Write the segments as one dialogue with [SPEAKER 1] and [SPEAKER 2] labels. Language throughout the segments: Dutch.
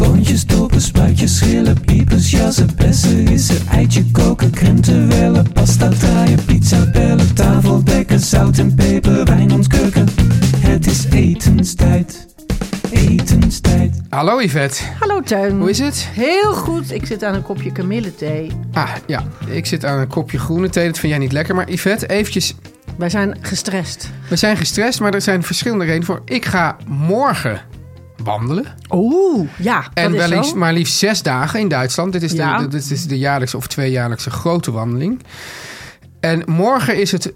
[SPEAKER 1] Boontjes, dopen, spuitjes, schillen, piepers, jassen, bessen, rissen, eitje koken, krenten wellen, pasta draaien, pizza bellen, tafel dekken, zout en peper, wijn ontkurken. Het is etenstijd, etenstijd.
[SPEAKER 2] Hallo Yvette,
[SPEAKER 3] Hallo Tuin.
[SPEAKER 2] hoe is het?
[SPEAKER 3] Heel goed. Ik zit aan een kopje kamillethee.
[SPEAKER 2] Ah ja, ik zit aan een kopje groene thee, dat vind jij niet lekker. Maar Yvette, eventjes,
[SPEAKER 3] Wij zijn gestrest.
[SPEAKER 2] we zijn gestrest, maar er zijn verschillende redenen voor. Ik ga morgen wandelen.
[SPEAKER 3] Oeh, ja.
[SPEAKER 2] En
[SPEAKER 3] dat
[SPEAKER 2] wel
[SPEAKER 3] is
[SPEAKER 2] liefst,
[SPEAKER 3] zo.
[SPEAKER 2] maar liefst zes dagen in Duitsland. Dit is,
[SPEAKER 3] Ja.
[SPEAKER 2] de, dit is de jaarlijkse of tweejaarlijkse grote wandeling. En morgen is het,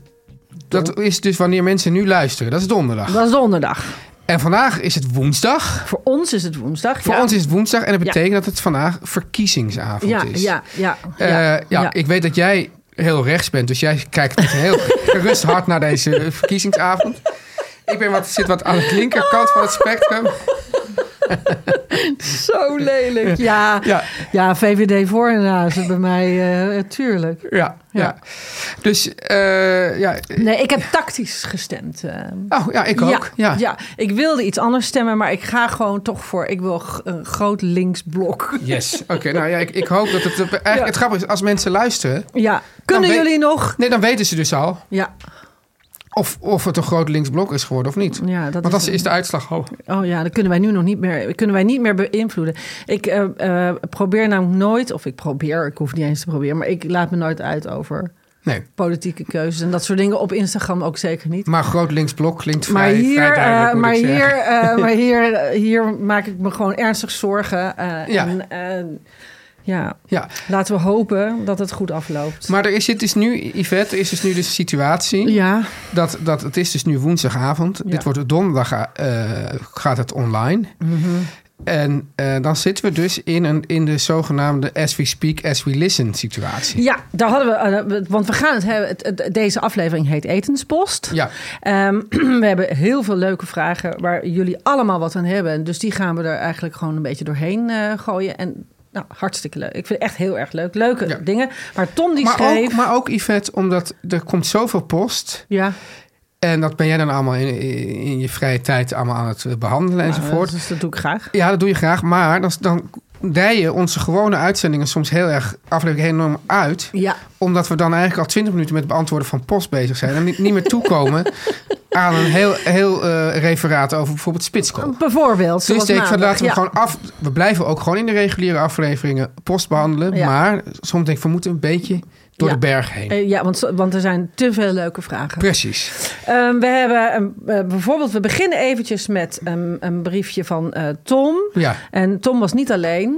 [SPEAKER 2] dat is dus wanneer mensen nu luisteren, dat is donderdag.
[SPEAKER 3] Dat is donderdag.
[SPEAKER 2] En vandaag is het woensdag.
[SPEAKER 3] Voor ons is het woensdag.
[SPEAKER 2] Voor
[SPEAKER 3] ja.
[SPEAKER 2] ons is het woensdag en dat
[SPEAKER 3] Ja.
[SPEAKER 2] betekent dat het vandaag verkiezingsavond
[SPEAKER 3] ja,
[SPEAKER 2] is.
[SPEAKER 3] ja, ja, ja,
[SPEAKER 2] Eh, ja, ik weet dat jij heel rechts bent, dus jij kijkt heel gerust hard naar deze verkiezingsavond. Ik ben wat, zit wat aan de linkerkant van het spectrum.
[SPEAKER 3] Zo lelijk. Ja, ja.
[SPEAKER 2] Ja.
[SPEAKER 3] VVD voor en naast bij mij, eh tuurlijk.
[SPEAKER 2] Ja, ja.
[SPEAKER 3] Ja.
[SPEAKER 2] Dus, eh, ja.
[SPEAKER 3] Nee, ik heb tactisch gestemd. eh.
[SPEAKER 2] Oh, ja, ik ook. Ja,
[SPEAKER 3] ik wilde iets anders stemmen, maar ik ga gewoon toch voor. Ik wil g- een groot linksblok.
[SPEAKER 2] Yes. Oké, nou ja, ik, ik hoop dat het... Eigenlijk
[SPEAKER 3] Ja.
[SPEAKER 2] het grappige is, als mensen luisteren...
[SPEAKER 3] Ja, kunnen
[SPEAKER 2] Nou, weet-
[SPEAKER 3] jullie nog?
[SPEAKER 2] Nee, dan weten ze dus al
[SPEAKER 3] Ja,
[SPEAKER 2] of, of het een groot linksblok is geworden of niet.
[SPEAKER 3] ja dat
[SPEAKER 2] Want
[SPEAKER 3] is
[SPEAKER 2] dan is de uitslag hoog.
[SPEAKER 3] Oh ja, dat kunnen wij nu nog niet meer, kunnen wij niet meer beïnvloeden. Ik eh, eh, probeer namelijk nooit, of ik probeer, ik hoef niet eens te proberen, maar ik laat me nooit uit over
[SPEAKER 2] Nee.
[SPEAKER 3] politieke keuzes en dat soort dingen. Op Instagram ook zeker niet.
[SPEAKER 2] Maar groot linksblok klinkt vrij,
[SPEAKER 3] Maar
[SPEAKER 2] vrij
[SPEAKER 3] hier,
[SPEAKER 2] duidelijk,
[SPEAKER 3] eh,
[SPEAKER 2] moet
[SPEAKER 3] maar,
[SPEAKER 2] ik zeggen.
[SPEAKER 3] hier, eh, maar hier, eh, hier maak ik me gewoon ernstig zorgen. eh,
[SPEAKER 2] Ja.
[SPEAKER 3] En, eh, ja,
[SPEAKER 2] Ja,
[SPEAKER 3] laten we hopen dat het goed afloopt.
[SPEAKER 2] maar er is, dit is nu, Yvette, er is dus nu de situatie...
[SPEAKER 3] ja,
[SPEAKER 2] dat, dat het is dus nu woensdagavond.
[SPEAKER 3] Ja.
[SPEAKER 2] Dit wordt donderdag eh, gaat het online.
[SPEAKER 3] Mhm.
[SPEAKER 2] En eh, dan zitten we dus in, een, in de zogenaamde as we speak, as we listen situatie.
[SPEAKER 3] ja, daar hadden we, eh, we- want we gaan het hebben. het- het- deze aflevering heet Etenspost.
[SPEAKER 2] Ja,
[SPEAKER 3] Ehm, we hebben heel veel leuke vragen waar jullie allemaal wat aan hebben. Dus die gaan we er eigenlijk gewoon een beetje doorheen eh, gooien. En nou, hartstikke leuk. Ik vind het echt heel erg leuk. Leuke
[SPEAKER 2] Ja.
[SPEAKER 3] dingen. Maar Tom die
[SPEAKER 2] maar
[SPEAKER 3] schreef...
[SPEAKER 2] ook, maar ook Yvette, omdat er komt zoveel post.
[SPEAKER 3] Ja,
[SPEAKER 2] En dat ben jij dan allemaal in, in je vrije tijd allemaal aan het eh, behandelen enzovoort.
[SPEAKER 3] Dus dat doe ik graag.
[SPEAKER 2] Ja, dat doe je graag. Maar dan, dan dij je onze gewone uitzendingen soms heel erg aflevering enorm uit.
[SPEAKER 3] Ja,
[SPEAKER 2] Omdat we dan eigenlijk al twintig minuten met beantwoorden van post bezig zijn. En niet, niet meer toekomen aan een heel, heel eh, referaat over bijvoorbeeld spitskool.
[SPEAKER 3] bijvoorbeeld.
[SPEAKER 2] Dus
[SPEAKER 3] Oh, zoals nou,
[SPEAKER 2] ik denk van
[SPEAKER 3] maandag.
[SPEAKER 2] laten we
[SPEAKER 3] Ja.
[SPEAKER 2] gewoon af. We blijven ook gewoon in de reguliere afleveringen post behandelen.
[SPEAKER 3] Ja.
[SPEAKER 2] Maar soms denk ik, we moeten een beetje door
[SPEAKER 3] Ja.
[SPEAKER 2] de berg heen.
[SPEAKER 3] Eh, Ja, want, want er zijn te veel leuke vragen.
[SPEAKER 2] Precies.
[SPEAKER 3] Ehm, we hebben een, eh, bijvoorbeeld, we beginnen eventjes met een, een briefje van eh, Tom.
[SPEAKER 2] Ja.
[SPEAKER 3] En Tom was niet alleen.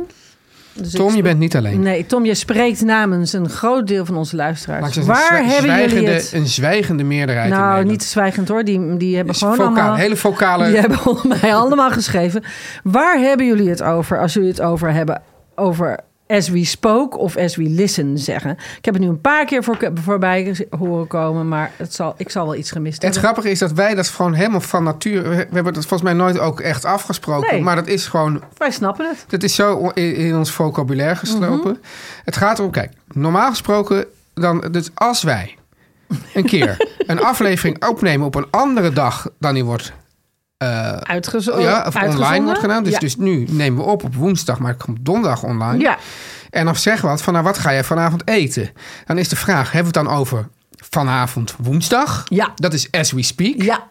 [SPEAKER 3] Dus ik
[SPEAKER 2] Tom, je bent niet alleen.
[SPEAKER 3] Nee, Tom, je spreekt namens een groot deel van onze luisteraars.
[SPEAKER 2] Maar het is een
[SPEAKER 3] Waar
[SPEAKER 2] zwa-
[SPEAKER 3] hebben jullie
[SPEAKER 2] zwijgende-
[SPEAKER 3] het?
[SPEAKER 2] Een zwijgende meerderheid. in
[SPEAKER 3] Nou,
[SPEAKER 2] Nederland.
[SPEAKER 3] niet zwijgend hoor. Die, die hebben
[SPEAKER 2] Is
[SPEAKER 3] gewoon
[SPEAKER 2] vocaal-
[SPEAKER 3] allemaal...
[SPEAKER 2] hele vocale.
[SPEAKER 3] Die hebben volgens mij allemaal geschreven. Waar hebben jullie het over als jullie het over hebben over as we spoke of as we listen zeggen? Ik heb het nu een paar keer voor, voorbij gez- horen komen, maar het zal, ik zal wel iets gemist
[SPEAKER 2] Het
[SPEAKER 3] hebben.
[SPEAKER 2] grappige is dat wij dat gewoon helemaal van natuur. We hebben dat volgens mij nooit ook echt afgesproken.
[SPEAKER 3] Nee.
[SPEAKER 2] Maar dat is gewoon
[SPEAKER 3] Wij snappen het.
[SPEAKER 2] Dat is zo in, in ons vocabulaire geslopen.
[SPEAKER 3] Mhm.
[SPEAKER 2] Het gaat erom, kijk, normaal gesproken, dan, dus als wij een keer een aflevering opnemen op een andere dag dan die wordt,
[SPEAKER 3] Uitgezo
[SPEAKER 2] Eh, oh ja, of
[SPEAKER 3] Oh, uitgezonden.
[SPEAKER 2] online wordt gedaan. Dus,
[SPEAKER 3] ja.
[SPEAKER 2] dus nu nemen we op op woensdag, maar het komt donderdag online.
[SPEAKER 3] Ja.
[SPEAKER 2] En dan zeggen we wat van, nou, wat ga jij vanavond eten? Dan is de vraag, hebben we het dan over vanavond woensdag?
[SPEAKER 3] Ja.
[SPEAKER 2] Dat is as we speak.
[SPEAKER 3] ja,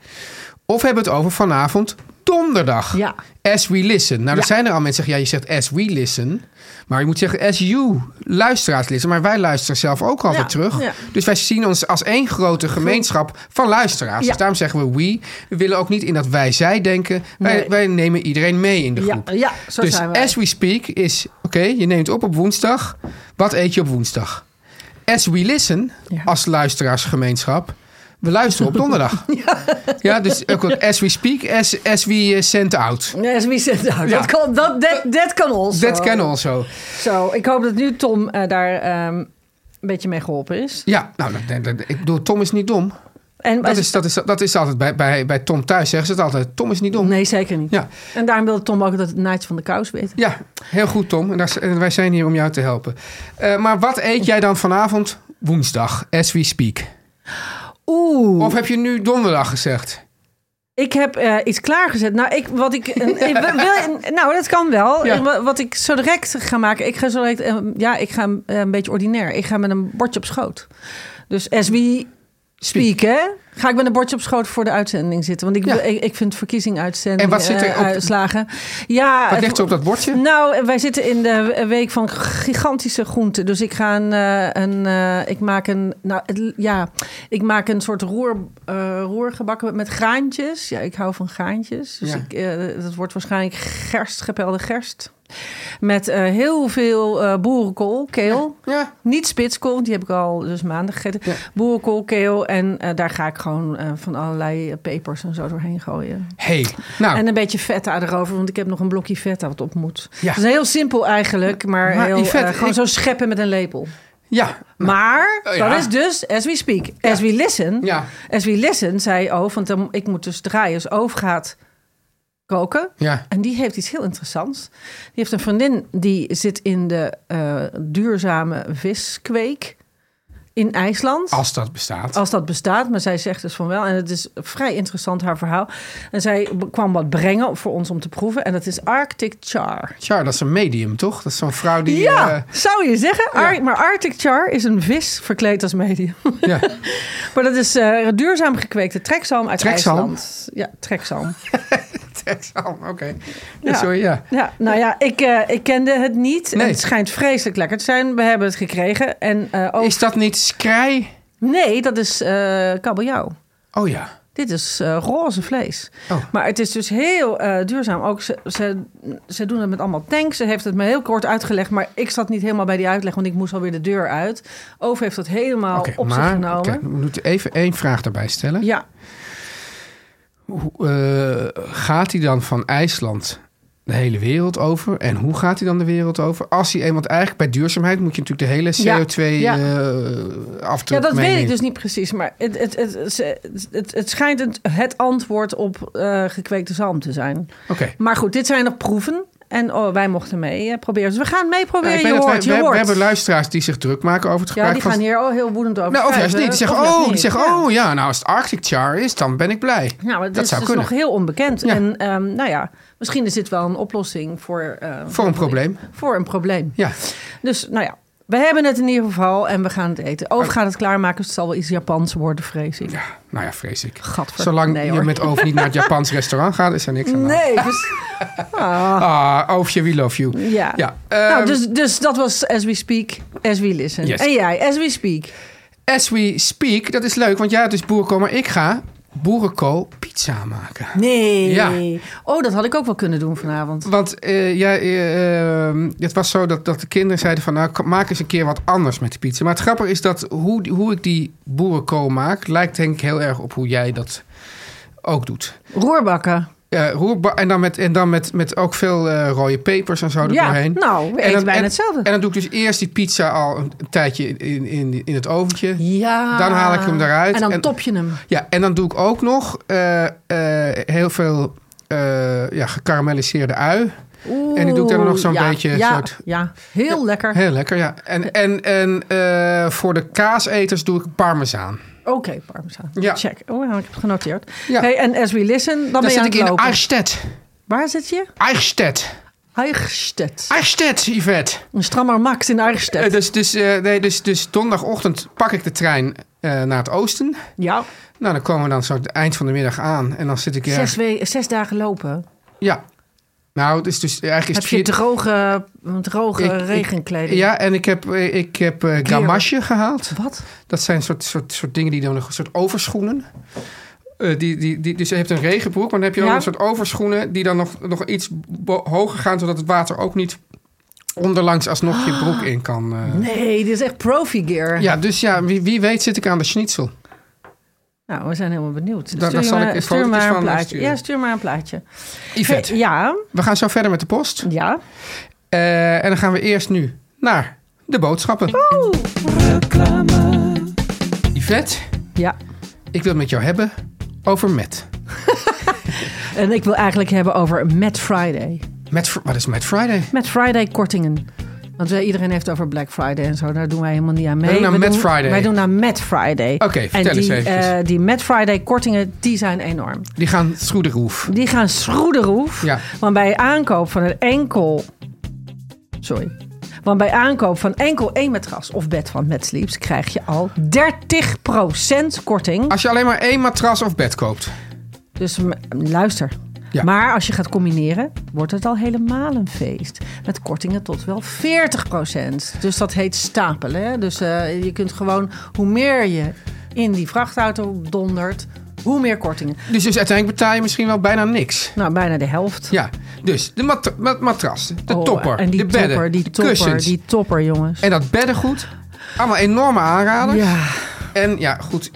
[SPEAKER 2] Of hebben we het over vanavond donderdag.
[SPEAKER 3] Ja.
[SPEAKER 2] As we listen. Nou, dat
[SPEAKER 3] Ja.
[SPEAKER 2] zijn er al mensen die zeggen, ja, je zegt as we listen. Maar je moet zeggen as you, luisteraars listen. Maar wij luisteren zelf ook altijd
[SPEAKER 3] Ja,
[SPEAKER 2] terug.
[SPEAKER 3] ja.
[SPEAKER 2] Dus wij zien ons als één grote gemeenschap van luisteraars.
[SPEAKER 3] Ja.
[SPEAKER 2] Dus daarom zeggen we we. We willen ook niet in dat wij-zij denken. Wij,
[SPEAKER 3] Nee.
[SPEAKER 2] wij nemen iedereen mee in de
[SPEAKER 3] Ja,
[SPEAKER 2] groep.
[SPEAKER 3] ja, zo
[SPEAKER 2] dus
[SPEAKER 3] zijn wij.
[SPEAKER 2] as we speak is, oké, je neemt op op woensdag. Wat eet je op woensdag? As we listen,
[SPEAKER 3] Ja.
[SPEAKER 2] als luisteraarsgemeenschap... We luisteren op donderdag. Ja, dus ook wel as we speak, as, as we eh, send out.
[SPEAKER 3] Nee, as we said, nou,
[SPEAKER 2] Ja.
[SPEAKER 3] dat, kan, dat, dat, dat kan ons.
[SPEAKER 2] That can also.
[SPEAKER 3] Zo, ik hoop dat nu Tom eh, daar ehm, een beetje mee geholpen is.
[SPEAKER 2] Ja, nou, dat- dat- dat- ik bedoel, Tom is niet dom.
[SPEAKER 3] En,
[SPEAKER 2] Dat is, dat is, dat is altijd bij, bij, bij Tom thuis, zeggen ze het altijd. Tom is niet dom.
[SPEAKER 3] Nee, zeker niet.
[SPEAKER 2] Ja.
[SPEAKER 3] En daarom wilde Tom ook dat het naadje van de kous weet.
[SPEAKER 2] Ja, heel goed, Tom. En, daar, en wij zijn hier om jou te helpen. Eh, maar wat eet jij dan vanavond? Woensdag, as we speak.
[SPEAKER 3] Oeh,
[SPEAKER 2] Of heb je nu donderdag gezegd?
[SPEAKER 3] ik heb eh, iets klaargezet. Nou, ik, wat ik, een- ik wil- wil, nou, dat kan wel.
[SPEAKER 2] Ja.
[SPEAKER 3] Ik wa- Wat ik zo direct ga maken. Ik ga zo direct, eh, ja, ik ga eh, een beetje ordinair. Ik ga met een bordje op schoot. Dus as we speak, hè, ga ik met een bordje op schoot voor de uitzending zitten. Want ik,
[SPEAKER 2] Ja.
[SPEAKER 3] wil- ik, ik vind verkiezinguitzendingen,
[SPEAKER 2] En wat zit er
[SPEAKER 3] eh,
[SPEAKER 2] op-
[SPEAKER 3] uitslagen. Ja,
[SPEAKER 2] Wat
[SPEAKER 3] het-
[SPEAKER 2] ligt er op dat bordje?
[SPEAKER 3] Nou, wij zitten in de week van gigantische groenten. Dus ik ga een, eh, een eh, ik maak een, nou het- ja, ik maak een soort roer, eh, roergebakken met graantjes. Ja, ik hou van graantjes. Dus
[SPEAKER 2] Ja.
[SPEAKER 3] ik, eh, dat wordt waarschijnlijk gerst, gepelde gerst. Met eh, heel veel eh, boerenkool, keel.
[SPEAKER 2] Ja.
[SPEAKER 3] Niet spitskool, want die heb ik al dus maandag gegeten.
[SPEAKER 2] Ja.
[SPEAKER 3] Boerenkool, keel en eh, daar ga ik gewoon eh, van allerlei eh, pepers en zo doorheen gooien.
[SPEAKER 2] hey, nou,
[SPEAKER 3] En eh, een beetje feta erover, want ik heb nog een blokje feta wat op moet.
[SPEAKER 2] Ja.
[SPEAKER 3] Het is heel simpel eigenlijk, maar,
[SPEAKER 2] Maar
[SPEAKER 3] heel,
[SPEAKER 2] Yvette,
[SPEAKER 3] eh, gewoon
[SPEAKER 2] ik-
[SPEAKER 3] zo scheppen met een lepel.
[SPEAKER 2] ja.
[SPEAKER 3] Maar
[SPEAKER 2] Eh, ja.
[SPEAKER 3] dat is dus as we speak, as we listen.
[SPEAKER 2] Ja.
[SPEAKER 3] As we listen, zei Oof, want dan, ik moet dus draaien. Dus Oof gaat koken.
[SPEAKER 2] Ja.
[SPEAKER 3] En die heeft iets heel interessants. Die heeft een vriendin die zit in de eh, duurzame viskweek in IJsland.
[SPEAKER 2] Als dat bestaat.
[SPEAKER 3] Als dat bestaat, maar zij zegt dus van wel. En het is vrij interessant, haar verhaal. En zij b- kwam wat brengen voor ons om te proeven. En dat is Arctic Char.
[SPEAKER 2] Tja, dat is een medium, toch? Dat is zo'n vrouw die...
[SPEAKER 3] ja,
[SPEAKER 2] eh,
[SPEAKER 3] zou je zeggen. Ar- maar Arctic Char is een vis verkleed als medium.
[SPEAKER 2] ja.
[SPEAKER 3] maar dat is eh, duurzaam gekweekte trekzalm uit
[SPEAKER 2] Trekzalm?
[SPEAKER 3] IJsland. Ja, trekzalm.
[SPEAKER 2] Texan, oké.
[SPEAKER 3] Ja.
[SPEAKER 2] Ja. Sorry, ja.
[SPEAKER 3] Ja, nou ja, ik, eh, ik kende het niet. En
[SPEAKER 2] Nee.
[SPEAKER 3] het schijnt vreselijk lekker te zijn. We hebben het gekregen. En, eh, ook...
[SPEAKER 2] Is dat niet skrij?
[SPEAKER 3] Nee, dat is eh kabeljauw.
[SPEAKER 2] Oh ja.
[SPEAKER 3] Dit is eh, roze vlees.
[SPEAKER 2] Oh.
[SPEAKER 3] Maar het is dus heel eh, duurzaam. Ook ze, ze, ze doen het met allemaal tanks. Ze heeft het me heel kort uitgelegd. Maar ik zat niet helemaal bij die uitleg, want ik moest alweer de deur uit. Over heeft dat helemaal
[SPEAKER 2] Oké,
[SPEAKER 3] op zich
[SPEAKER 2] maar
[SPEAKER 3] genomen.
[SPEAKER 2] oké, we moeten even één vraag daarbij stellen.
[SPEAKER 3] Ja,
[SPEAKER 2] Hoe, eh, gaat hij dan van IJsland de hele wereld over? En hoe gaat hij dan de wereld over? Als hij iemand eigenlijk bij duurzaamheid moet je natuurlijk de hele
[SPEAKER 3] Ja,
[SPEAKER 2] CO2 eh
[SPEAKER 3] ja.
[SPEAKER 2] afdruk
[SPEAKER 3] ja dat weet
[SPEAKER 2] meenemen.
[SPEAKER 3] ik dus niet precies. Maar het, het, het, het, het, het schijnt het, het antwoord op eh, gekweekte zalm te zijn.
[SPEAKER 2] Oké.
[SPEAKER 3] Maar goed, dit zijn nog proeven. En oh, wij mochten mee eh, proberen. Dus we gaan mee
[SPEAKER 2] Ja,
[SPEAKER 3] proberen.
[SPEAKER 2] ik weet
[SPEAKER 3] je
[SPEAKER 2] dat wij-
[SPEAKER 3] hoort,
[SPEAKER 2] we,
[SPEAKER 3] je
[SPEAKER 2] we
[SPEAKER 3] hoort.
[SPEAKER 2] hebben luisteraars die zich druk maken over het
[SPEAKER 3] ja,
[SPEAKER 2] gebruik
[SPEAKER 3] die gaan
[SPEAKER 2] van...
[SPEAKER 3] hier al heel woedend over
[SPEAKER 2] nou, of juist
[SPEAKER 3] schrijven.
[SPEAKER 2] niet. Die zeggen,
[SPEAKER 3] Of juist
[SPEAKER 2] oh, die
[SPEAKER 3] niet.
[SPEAKER 2] zeggen,
[SPEAKER 3] Ja.
[SPEAKER 2] oh ja, nou als het Arctic Char is, dan ben ik blij.
[SPEAKER 3] Ja, maar het
[SPEAKER 2] dat
[SPEAKER 3] is
[SPEAKER 2] zou
[SPEAKER 3] dus
[SPEAKER 2] kunnen.
[SPEAKER 3] nog heel onbekend.
[SPEAKER 2] Ja.
[SPEAKER 3] En ehm, nou ja, misschien is dit wel een oplossing voor... eh,
[SPEAKER 2] Voor een probleem.
[SPEAKER 3] Voor een probleem.
[SPEAKER 2] Ja.
[SPEAKER 3] Dus nou ja, we hebben het in ieder geval en we gaan het eten. Of gaat het klaarmaken, dus het zal wel iets Japans worden, vrees ik.
[SPEAKER 2] Ah. ja, nou ja, vrees ik.
[SPEAKER 3] Gadver.
[SPEAKER 2] Zolang
[SPEAKER 3] Nee,
[SPEAKER 2] je
[SPEAKER 3] hoor.
[SPEAKER 2] met over niet naar het Japans restaurant gaat, is er niks aan de hand.
[SPEAKER 3] Nee, dus,
[SPEAKER 2] Ah, Oofje, we love you.
[SPEAKER 3] ja.
[SPEAKER 2] Ja,
[SPEAKER 3] nou,
[SPEAKER 2] ehm,
[SPEAKER 3] dus, dus dat was As We Speak, As We Listen.
[SPEAKER 2] Yes.
[SPEAKER 3] En jij, As We Speak.
[SPEAKER 2] As we speak, dat is leuk, want jij hebt dus boerenkool, maar ik ga boerenkool pizza maken.
[SPEAKER 3] Nee.
[SPEAKER 2] Ja.
[SPEAKER 3] Oh, dat had ik ook wel kunnen doen vanavond.
[SPEAKER 2] Want eh, jij, eh, ehm, het was zo dat, dat de kinderen zeiden van... nou, k- maak eens een keer wat anders met de pizza. Maar het grappige is dat hoe, die- hoe ik die boerenkool maak... lijkt denk ik heel erg op hoe jij dat ook doet.
[SPEAKER 3] Roerbakken.
[SPEAKER 2] Eh, roerba- en dan, met, en dan met, met ook veel eh, rode pepers en zo
[SPEAKER 3] Ja,
[SPEAKER 2] erdoorheen.
[SPEAKER 3] nou, we
[SPEAKER 2] en
[SPEAKER 3] eten
[SPEAKER 2] dan,
[SPEAKER 3] bijna
[SPEAKER 2] en-
[SPEAKER 3] hetzelfde.
[SPEAKER 2] En dan doe ik dus eerst die pizza al een tijdje in, in, in het oventje.
[SPEAKER 3] Ja.
[SPEAKER 2] Dan haal ik hem eruit
[SPEAKER 3] En dan
[SPEAKER 2] en-
[SPEAKER 3] top je hem.
[SPEAKER 2] Ja, en dan doe ik ook nog eh, eh, heel veel eh ja, gekarameliseerde ui. En die doe ik dan nog zo'n
[SPEAKER 3] Oeh, ja,
[SPEAKER 2] beetje
[SPEAKER 3] Ja,
[SPEAKER 2] soort-
[SPEAKER 3] ja. heel lekker.
[SPEAKER 2] Heel lekker, ja. En, en, en eh, voor de kaaseters doe ik parmezaan.
[SPEAKER 3] Oké, parmezaan.
[SPEAKER 2] Ja.
[SPEAKER 3] Check. Oh, ik heb het genoteerd.
[SPEAKER 2] Ja.
[SPEAKER 3] Hey, en as we listen, dan, ben
[SPEAKER 2] Dan
[SPEAKER 3] je aan
[SPEAKER 2] zit
[SPEAKER 3] het
[SPEAKER 2] ik in
[SPEAKER 3] lopen.
[SPEAKER 2] Eichstätt.
[SPEAKER 3] Waar zit je?
[SPEAKER 2] Eichstätt.
[SPEAKER 3] Eichstätt.
[SPEAKER 2] Eichstätt, Yvette.
[SPEAKER 3] Een strammer Max in Eichstätt.
[SPEAKER 2] dus- Eh, dus, dus, eh, nee, dus, dus donderdagochtend pak ik de trein eh, naar het oosten.
[SPEAKER 3] Ja.
[SPEAKER 2] Nou, dan komen we dan zo het eind van de middag aan. En dan zit ik
[SPEAKER 3] Zes,
[SPEAKER 2] ergens...
[SPEAKER 3] we- zes dagen lopen.
[SPEAKER 2] Ja. Nou, het is dus eigenlijk... Is
[SPEAKER 3] Heb
[SPEAKER 2] het
[SPEAKER 3] je
[SPEAKER 2] vier-
[SPEAKER 3] droge, droge
[SPEAKER 2] Ik- ik-
[SPEAKER 3] eh, regenkleding?
[SPEAKER 2] Ja, en ik heb, eh, ik heb eh, gamasje gehaald.
[SPEAKER 3] Wat?
[SPEAKER 2] Dat zijn soort, soort, soort dingen die dan een soort overschoenen. Eh, die, die, die, dus je hebt een regenbroek, maar dan heb je ook
[SPEAKER 3] Ja.
[SPEAKER 2] een soort overschoenen die dan nog, nog iets bo- hoger gaan, zodat het water ook niet onderlangs alsnog je broek in kan. eh.
[SPEAKER 3] Nee, dit is echt profi-gear.
[SPEAKER 2] Ja, dus ja, wie, wie weet zit ik aan de schnitzel.
[SPEAKER 3] Nou, we zijn helemaal benieuwd.
[SPEAKER 2] daar
[SPEAKER 3] stuur
[SPEAKER 2] zal
[SPEAKER 3] maar,
[SPEAKER 2] ik eens
[SPEAKER 3] stuur
[SPEAKER 2] fotootjes
[SPEAKER 3] maar een
[SPEAKER 2] van
[SPEAKER 3] plaatje.
[SPEAKER 2] sturen.
[SPEAKER 3] Ja, stuur maar een plaatje.
[SPEAKER 2] Yvette,
[SPEAKER 3] Hey, ja,
[SPEAKER 2] we gaan zo verder met de post.
[SPEAKER 3] ja.
[SPEAKER 2] Eh, en dan gaan we eerst nu naar de boodschappen.
[SPEAKER 3] Oh.
[SPEAKER 2] Yvette,
[SPEAKER 3] Ja.
[SPEAKER 2] ik wil het met jou hebben over Met.
[SPEAKER 3] En ik wil eigenlijk hebben over Mad Friday.
[SPEAKER 2] Met wat is Met Friday?
[SPEAKER 3] Mad Friday kortingen. Want eh, iedereen heeft over Black Friday en zo. Daar doen wij helemaal niet aan mee.
[SPEAKER 2] doen aan
[SPEAKER 3] We
[SPEAKER 2] Mad Friday.
[SPEAKER 3] Wij doen naar Mad Friday.
[SPEAKER 2] Oké, vertel
[SPEAKER 3] en
[SPEAKER 2] eens
[SPEAKER 3] die,
[SPEAKER 2] eventjes.
[SPEAKER 3] eh, die Mad Friday kortingen, die zijn enorm.
[SPEAKER 2] Die gaan through the roof.
[SPEAKER 3] Die gaan schroederoef.
[SPEAKER 2] Ja.
[SPEAKER 3] Want bij aankoop van een enkel... Sorry. Want bij aankoop van enkel één matras of bed van Mad Sleeps... krijg je al 30% korting.
[SPEAKER 2] Als je alleen maar één matras of bed koopt.
[SPEAKER 3] Dus m- luister.
[SPEAKER 2] Ja.
[SPEAKER 3] Maar als je gaat combineren, wordt het al helemaal een feest. Met kortingen tot wel 40%. Dus dat heet stapelen. hè. Dus eh, je kunt gewoon, hoe meer je in die vrachtauto dondert, hoe meer kortingen.
[SPEAKER 2] Dus, dus uiteindelijk betaal je misschien wel bijna niks.
[SPEAKER 3] Nou, bijna de helft.
[SPEAKER 2] Ja, dus de mat ma- matras, de
[SPEAKER 3] Oh,
[SPEAKER 2] topper,
[SPEAKER 3] En die
[SPEAKER 2] de bedden,
[SPEAKER 3] topper, die
[SPEAKER 2] de
[SPEAKER 3] topper,
[SPEAKER 2] kussens
[SPEAKER 3] die topper, jongens.
[SPEAKER 2] en dat beddengoed. Allemaal enorme aanraders.
[SPEAKER 3] Ja,
[SPEAKER 2] En ja, goed.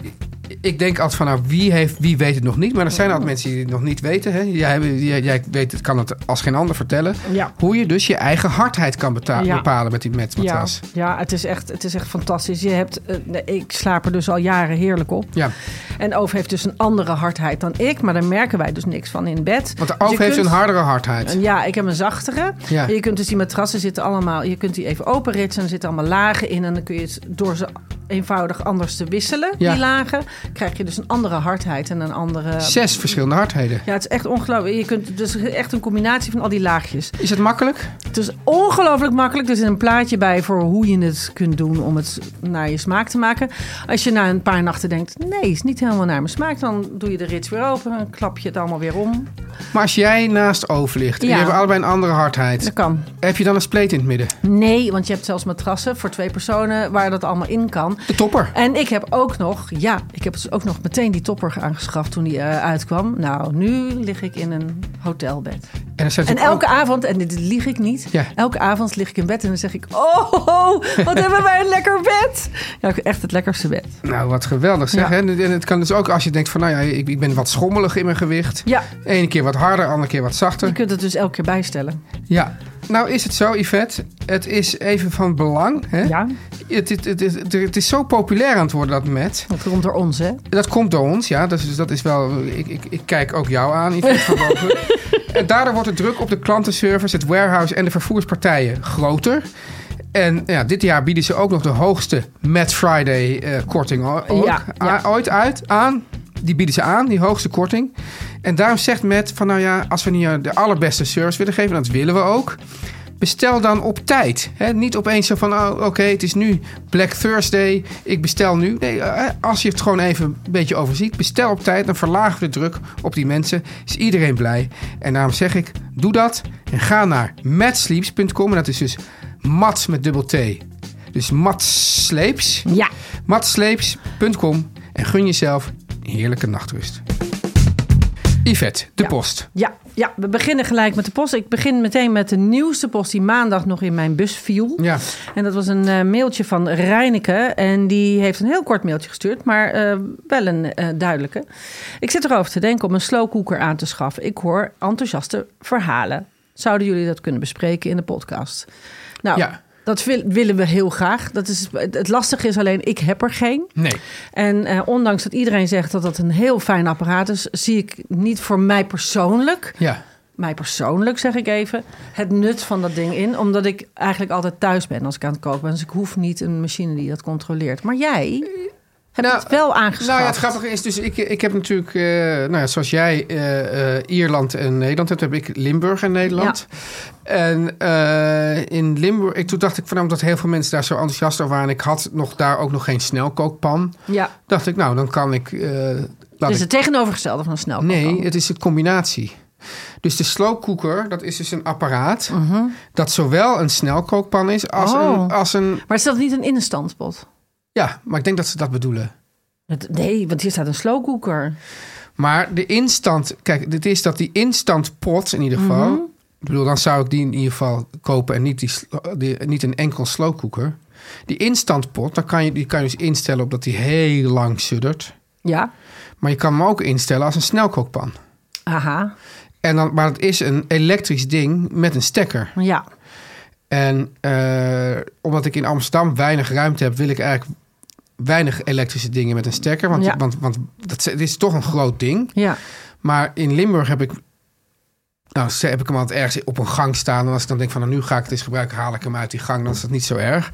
[SPEAKER 2] Ik denk altijd van, nou, wie, heeft, wie weet het nog niet? Maar er zijn
[SPEAKER 3] Oh.
[SPEAKER 2] altijd mensen die het nog niet weten. Hè? Jij, jij, jij weet het, kan het als geen ander vertellen.
[SPEAKER 3] Ja.
[SPEAKER 2] Hoe je dus je eigen hardheid kan beta-
[SPEAKER 3] Ja.
[SPEAKER 2] bepalen met die met
[SPEAKER 3] ja,
[SPEAKER 2] matras.
[SPEAKER 3] ja het, is echt, het is echt fantastisch. Je hebt, eh, nee, ik slaap er dus al jaren heerlijk op.
[SPEAKER 2] Ja.
[SPEAKER 3] En Oof heeft dus een andere hardheid dan ik, maar daar merken wij dus niks van in bed.
[SPEAKER 2] Want de
[SPEAKER 3] Dus
[SPEAKER 2] oof
[SPEAKER 3] je
[SPEAKER 2] heeft
[SPEAKER 3] kunt-
[SPEAKER 2] een hardere hardheid.
[SPEAKER 3] Ja, ik heb een zachtere.
[SPEAKER 2] Ja.
[SPEAKER 3] Je kunt dus die matrassen zitten allemaal, je kunt die even openritsen. Er zitten allemaal lagen in en dan kun je het door ze eenvoudig anders te wisselen,
[SPEAKER 2] Ja.
[SPEAKER 3] die lagen. Krijg je dus een andere hardheid en een andere...
[SPEAKER 2] Zes verschillende hardheden.
[SPEAKER 3] Ja, het is echt ongelooflijk. Je kunt dus echt een combinatie van al die laagjes.
[SPEAKER 2] Is het makkelijk?
[SPEAKER 3] Het is ongelooflijk makkelijk. Er zit een plaatje bij voor hoe je het kunt doen om het naar je smaak te maken. Als je na een paar nachten denkt, nee, is niet helemaal naar mijn smaak. Dan doe je de rits weer open en klap je het allemaal weer om.
[SPEAKER 2] Maar als jij naast Oof ligt en
[SPEAKER 3] Ja.
[SPEAKER 2] je hebt allebei een andere hardheid,
[SPEAKER 3] Dat kan.
[SPEAKER 2] heb je dan een spleet in het midden?
[SPEAKER 3] Nee, want je hebt zelfs matrassen voor twee personen waar dat allemaal in kan.
[SPEAKER 2] De topper.
[SPEAKER 3] En ik heb ook nog, ja, ik heb dus ook nog meteen die topper aangeschaft toen die eh, uitkwam. Nou, nu lig ik in een hotelbed.
[SPEAKER 2] En, er zijn
[SPEAKER 3] En
[SPEAKER 2] natuurlijk
[SPEAKER 3] elke
[SPEAKER 2] ook-
[SPEAKER 3] avond, en dit lieg ik niet,
[SPEAKER 2] Ja.
[SPEAKER 3] elke avond lig ik in bed en dan zeg ik: Oh, wat hebben wij een lekker bed? Ja, ik heb echt het lekkerste bed.
[SPEAKER 2] Nou, wat geweldig zeg.
[SPEAKER 3] Ja.
[SPEAKER 2] hè? En het kan dus ook als je denkt van, nou ja, ik, ik ben wat schommelig in mijn gewicht.
[SPEAKER 3] Ja.
[SPEAKER 2] Eén keer wat harder, andere keer wat zachter.
[SPEAKER 3] Je kunt het dus elke keer bijstellen.
[SPEAKER 2] Ja. Nou is het zo, Yvette. Het is even van belang. Hè?
[SPEAKER 3] Ja,
[SPEAKER 2] Het, het, het, het, het is zo populair aan het worden, dat met.
[SPEAKER 3] dat komt door ons, hè?
[SPEAKER 2] Dat komt door ons, ja. Dus, dus dat is wel... Ik, ik, ik kijk ook jou aan, Yvette van Boven. En daardoor wordt de druk op de klantenservice, het warehouse en de vervoerspartijen groter. En ja, dit jaar bieden ze ook nog de hoogste Mad Friday eh, korting o- ook,
[SPEAKER 3] Ja, ja.
[SPEAKER 2] a- ooit uit aan. Die bieden ze aan, die hoogste korting. En daarom zegt Matt van nou ja, als we nu de allerbeste service willen geven, en dat willen we ook. Bestel dan op tijd. Hè? Niet opeens zo van, oh, oké, het is nu Black Thursday, ik bestel nu. Nee, eh, als je het gewoon even een beetje overziet, bestel op tijd. Dan verlagen we de druk op die mensen. Is iedereen blij. En daarom zeg ik, doe dat en ga naar matsleeps.com. En dat is dus Mats met dubbel T. Dus matsleeps.
[SPEAKER 3] Ja.
[SPEAKER 2] Matsleeps.com. En gun jezelf een heerlijke nachtrust. Yvette, de
[SPEAKER 3] Ja.
[SPEAKER 2] post.
[SPEAKER 3] Ja, ja, we beginnen gelijk met de post. Ik begin meteen met de nieuwste post die maandag nog in mijn bus viel.
[SPEAKER 2] Ja.
[SPEAKER 3] En dat was een eh, mailtje van Reineke. En die heeft een heel kort mailtje gestuurd, maar eh, wel een eh, duidelijke. Ik zit erover te denken om een slowcooker aan te schaffen. Ik hoor enthousiaste verhalen. Zouden jullie dat kunnen bespreken in de podcast? Nou,
[SPEAKER 2] Ja.
[SPEAKER 3] dat wil- willen we heel graag. Dat is, het het lastige is alleen, ik heb er geen.
[SPEAKER 2] Nee.
[SPEAKER 3] En eh, ondanks dat iedereen zegt dat dat een heel fijn apparaat is... zie ik niet voor mij persoonlijk
[SPEAKER 2] Ja.
[SPEAKER 3] mij persoonlijk, zeg ik even, het nut van dat ding in. Omdat ik eigenlijk altijd thuis ben als ik aan het koken ben. Dus ik hoef niet een machine die dat controleert. Maar jij, Heb
[SPEAKER 2] Nou,
[SPEAKER 3] je het wel aangeschaft?
[SPEAKER 2] Nou ja, het grappige is dus, ik, ik heb natuurlijk, eh, nou ja, zoals jij eh, eh, Ierland en Nederland hebt, heb ik Limburg en Nederland. En eh, in Limburg, ik, toen dacht ik van nou, omdat heel veel mensen daar zo enthousiast over waren. En ik had nog, daar ook nog geen snelkookpan.
[SPEAKER 3] Ja.
[SPEAKER 2] Dacht ik, nou dan kan ik... eh, laat
[SPEAKER 3] Dus
[SPEAKER 2] ik
[SPEAKER 3] het tegenovergestelde van snel.
[SPEAKER 2] Nee, het is een combinatie. Dus de slowcooker, dat is dus een apparaat dat zowel een snelkookpan is als,
[SPEAKER 3] Oh.
[SPEAKER 2] een, als een...
[SPEAKER 3] Maar is dat niet een innenstandspot?
[SPEAKER 2] Ja, maar ik denk dat ze dat bedoelen.
[SPEAKER 3] Het- Nee, want hier staat een slowcooker.
[SPEAKER 2] Maar de instant, kijk, dit is dat die instant pot in ieder geval. Ik bedoel, dan zou ik die in ieder geval kopen en niet, die, slo- die- niet een enkel slowcooker. Die instant pot, dan kan je, die kan je dus instellen op dat die heel lang suddert.
[SPEAKER 3] Ja.
[SPEAKER 2] Maar je kan hem ook instellen als een snelkookpan.
[SPEAKER 3] Aha.
[SPEAKER 2] En dan, maar het is een elektrisch ding met een stekker.
[SPEAKER 3] Ja.
[SPEAKER 2] En eh, omdat ik in Amsterdam weinig ruimte heb, wil ik eigenlijk weinig elektrische dingen met een stekker. Want,
[SPEAKER 3] Ja.
[SPEAKER 2] want, want dat, is- het is toch een groot ding.
[SPEAKER 3] Ja.
[SPEAKER 2] Maar in Limburg heb ik. Nou, ze- heb ik hem altijd ergens op een gang staan. En als ik dan denk van, nou, nu ga ik het eens gebruiken, haal ik hem uit die gang. Dan is dat niet zo erg.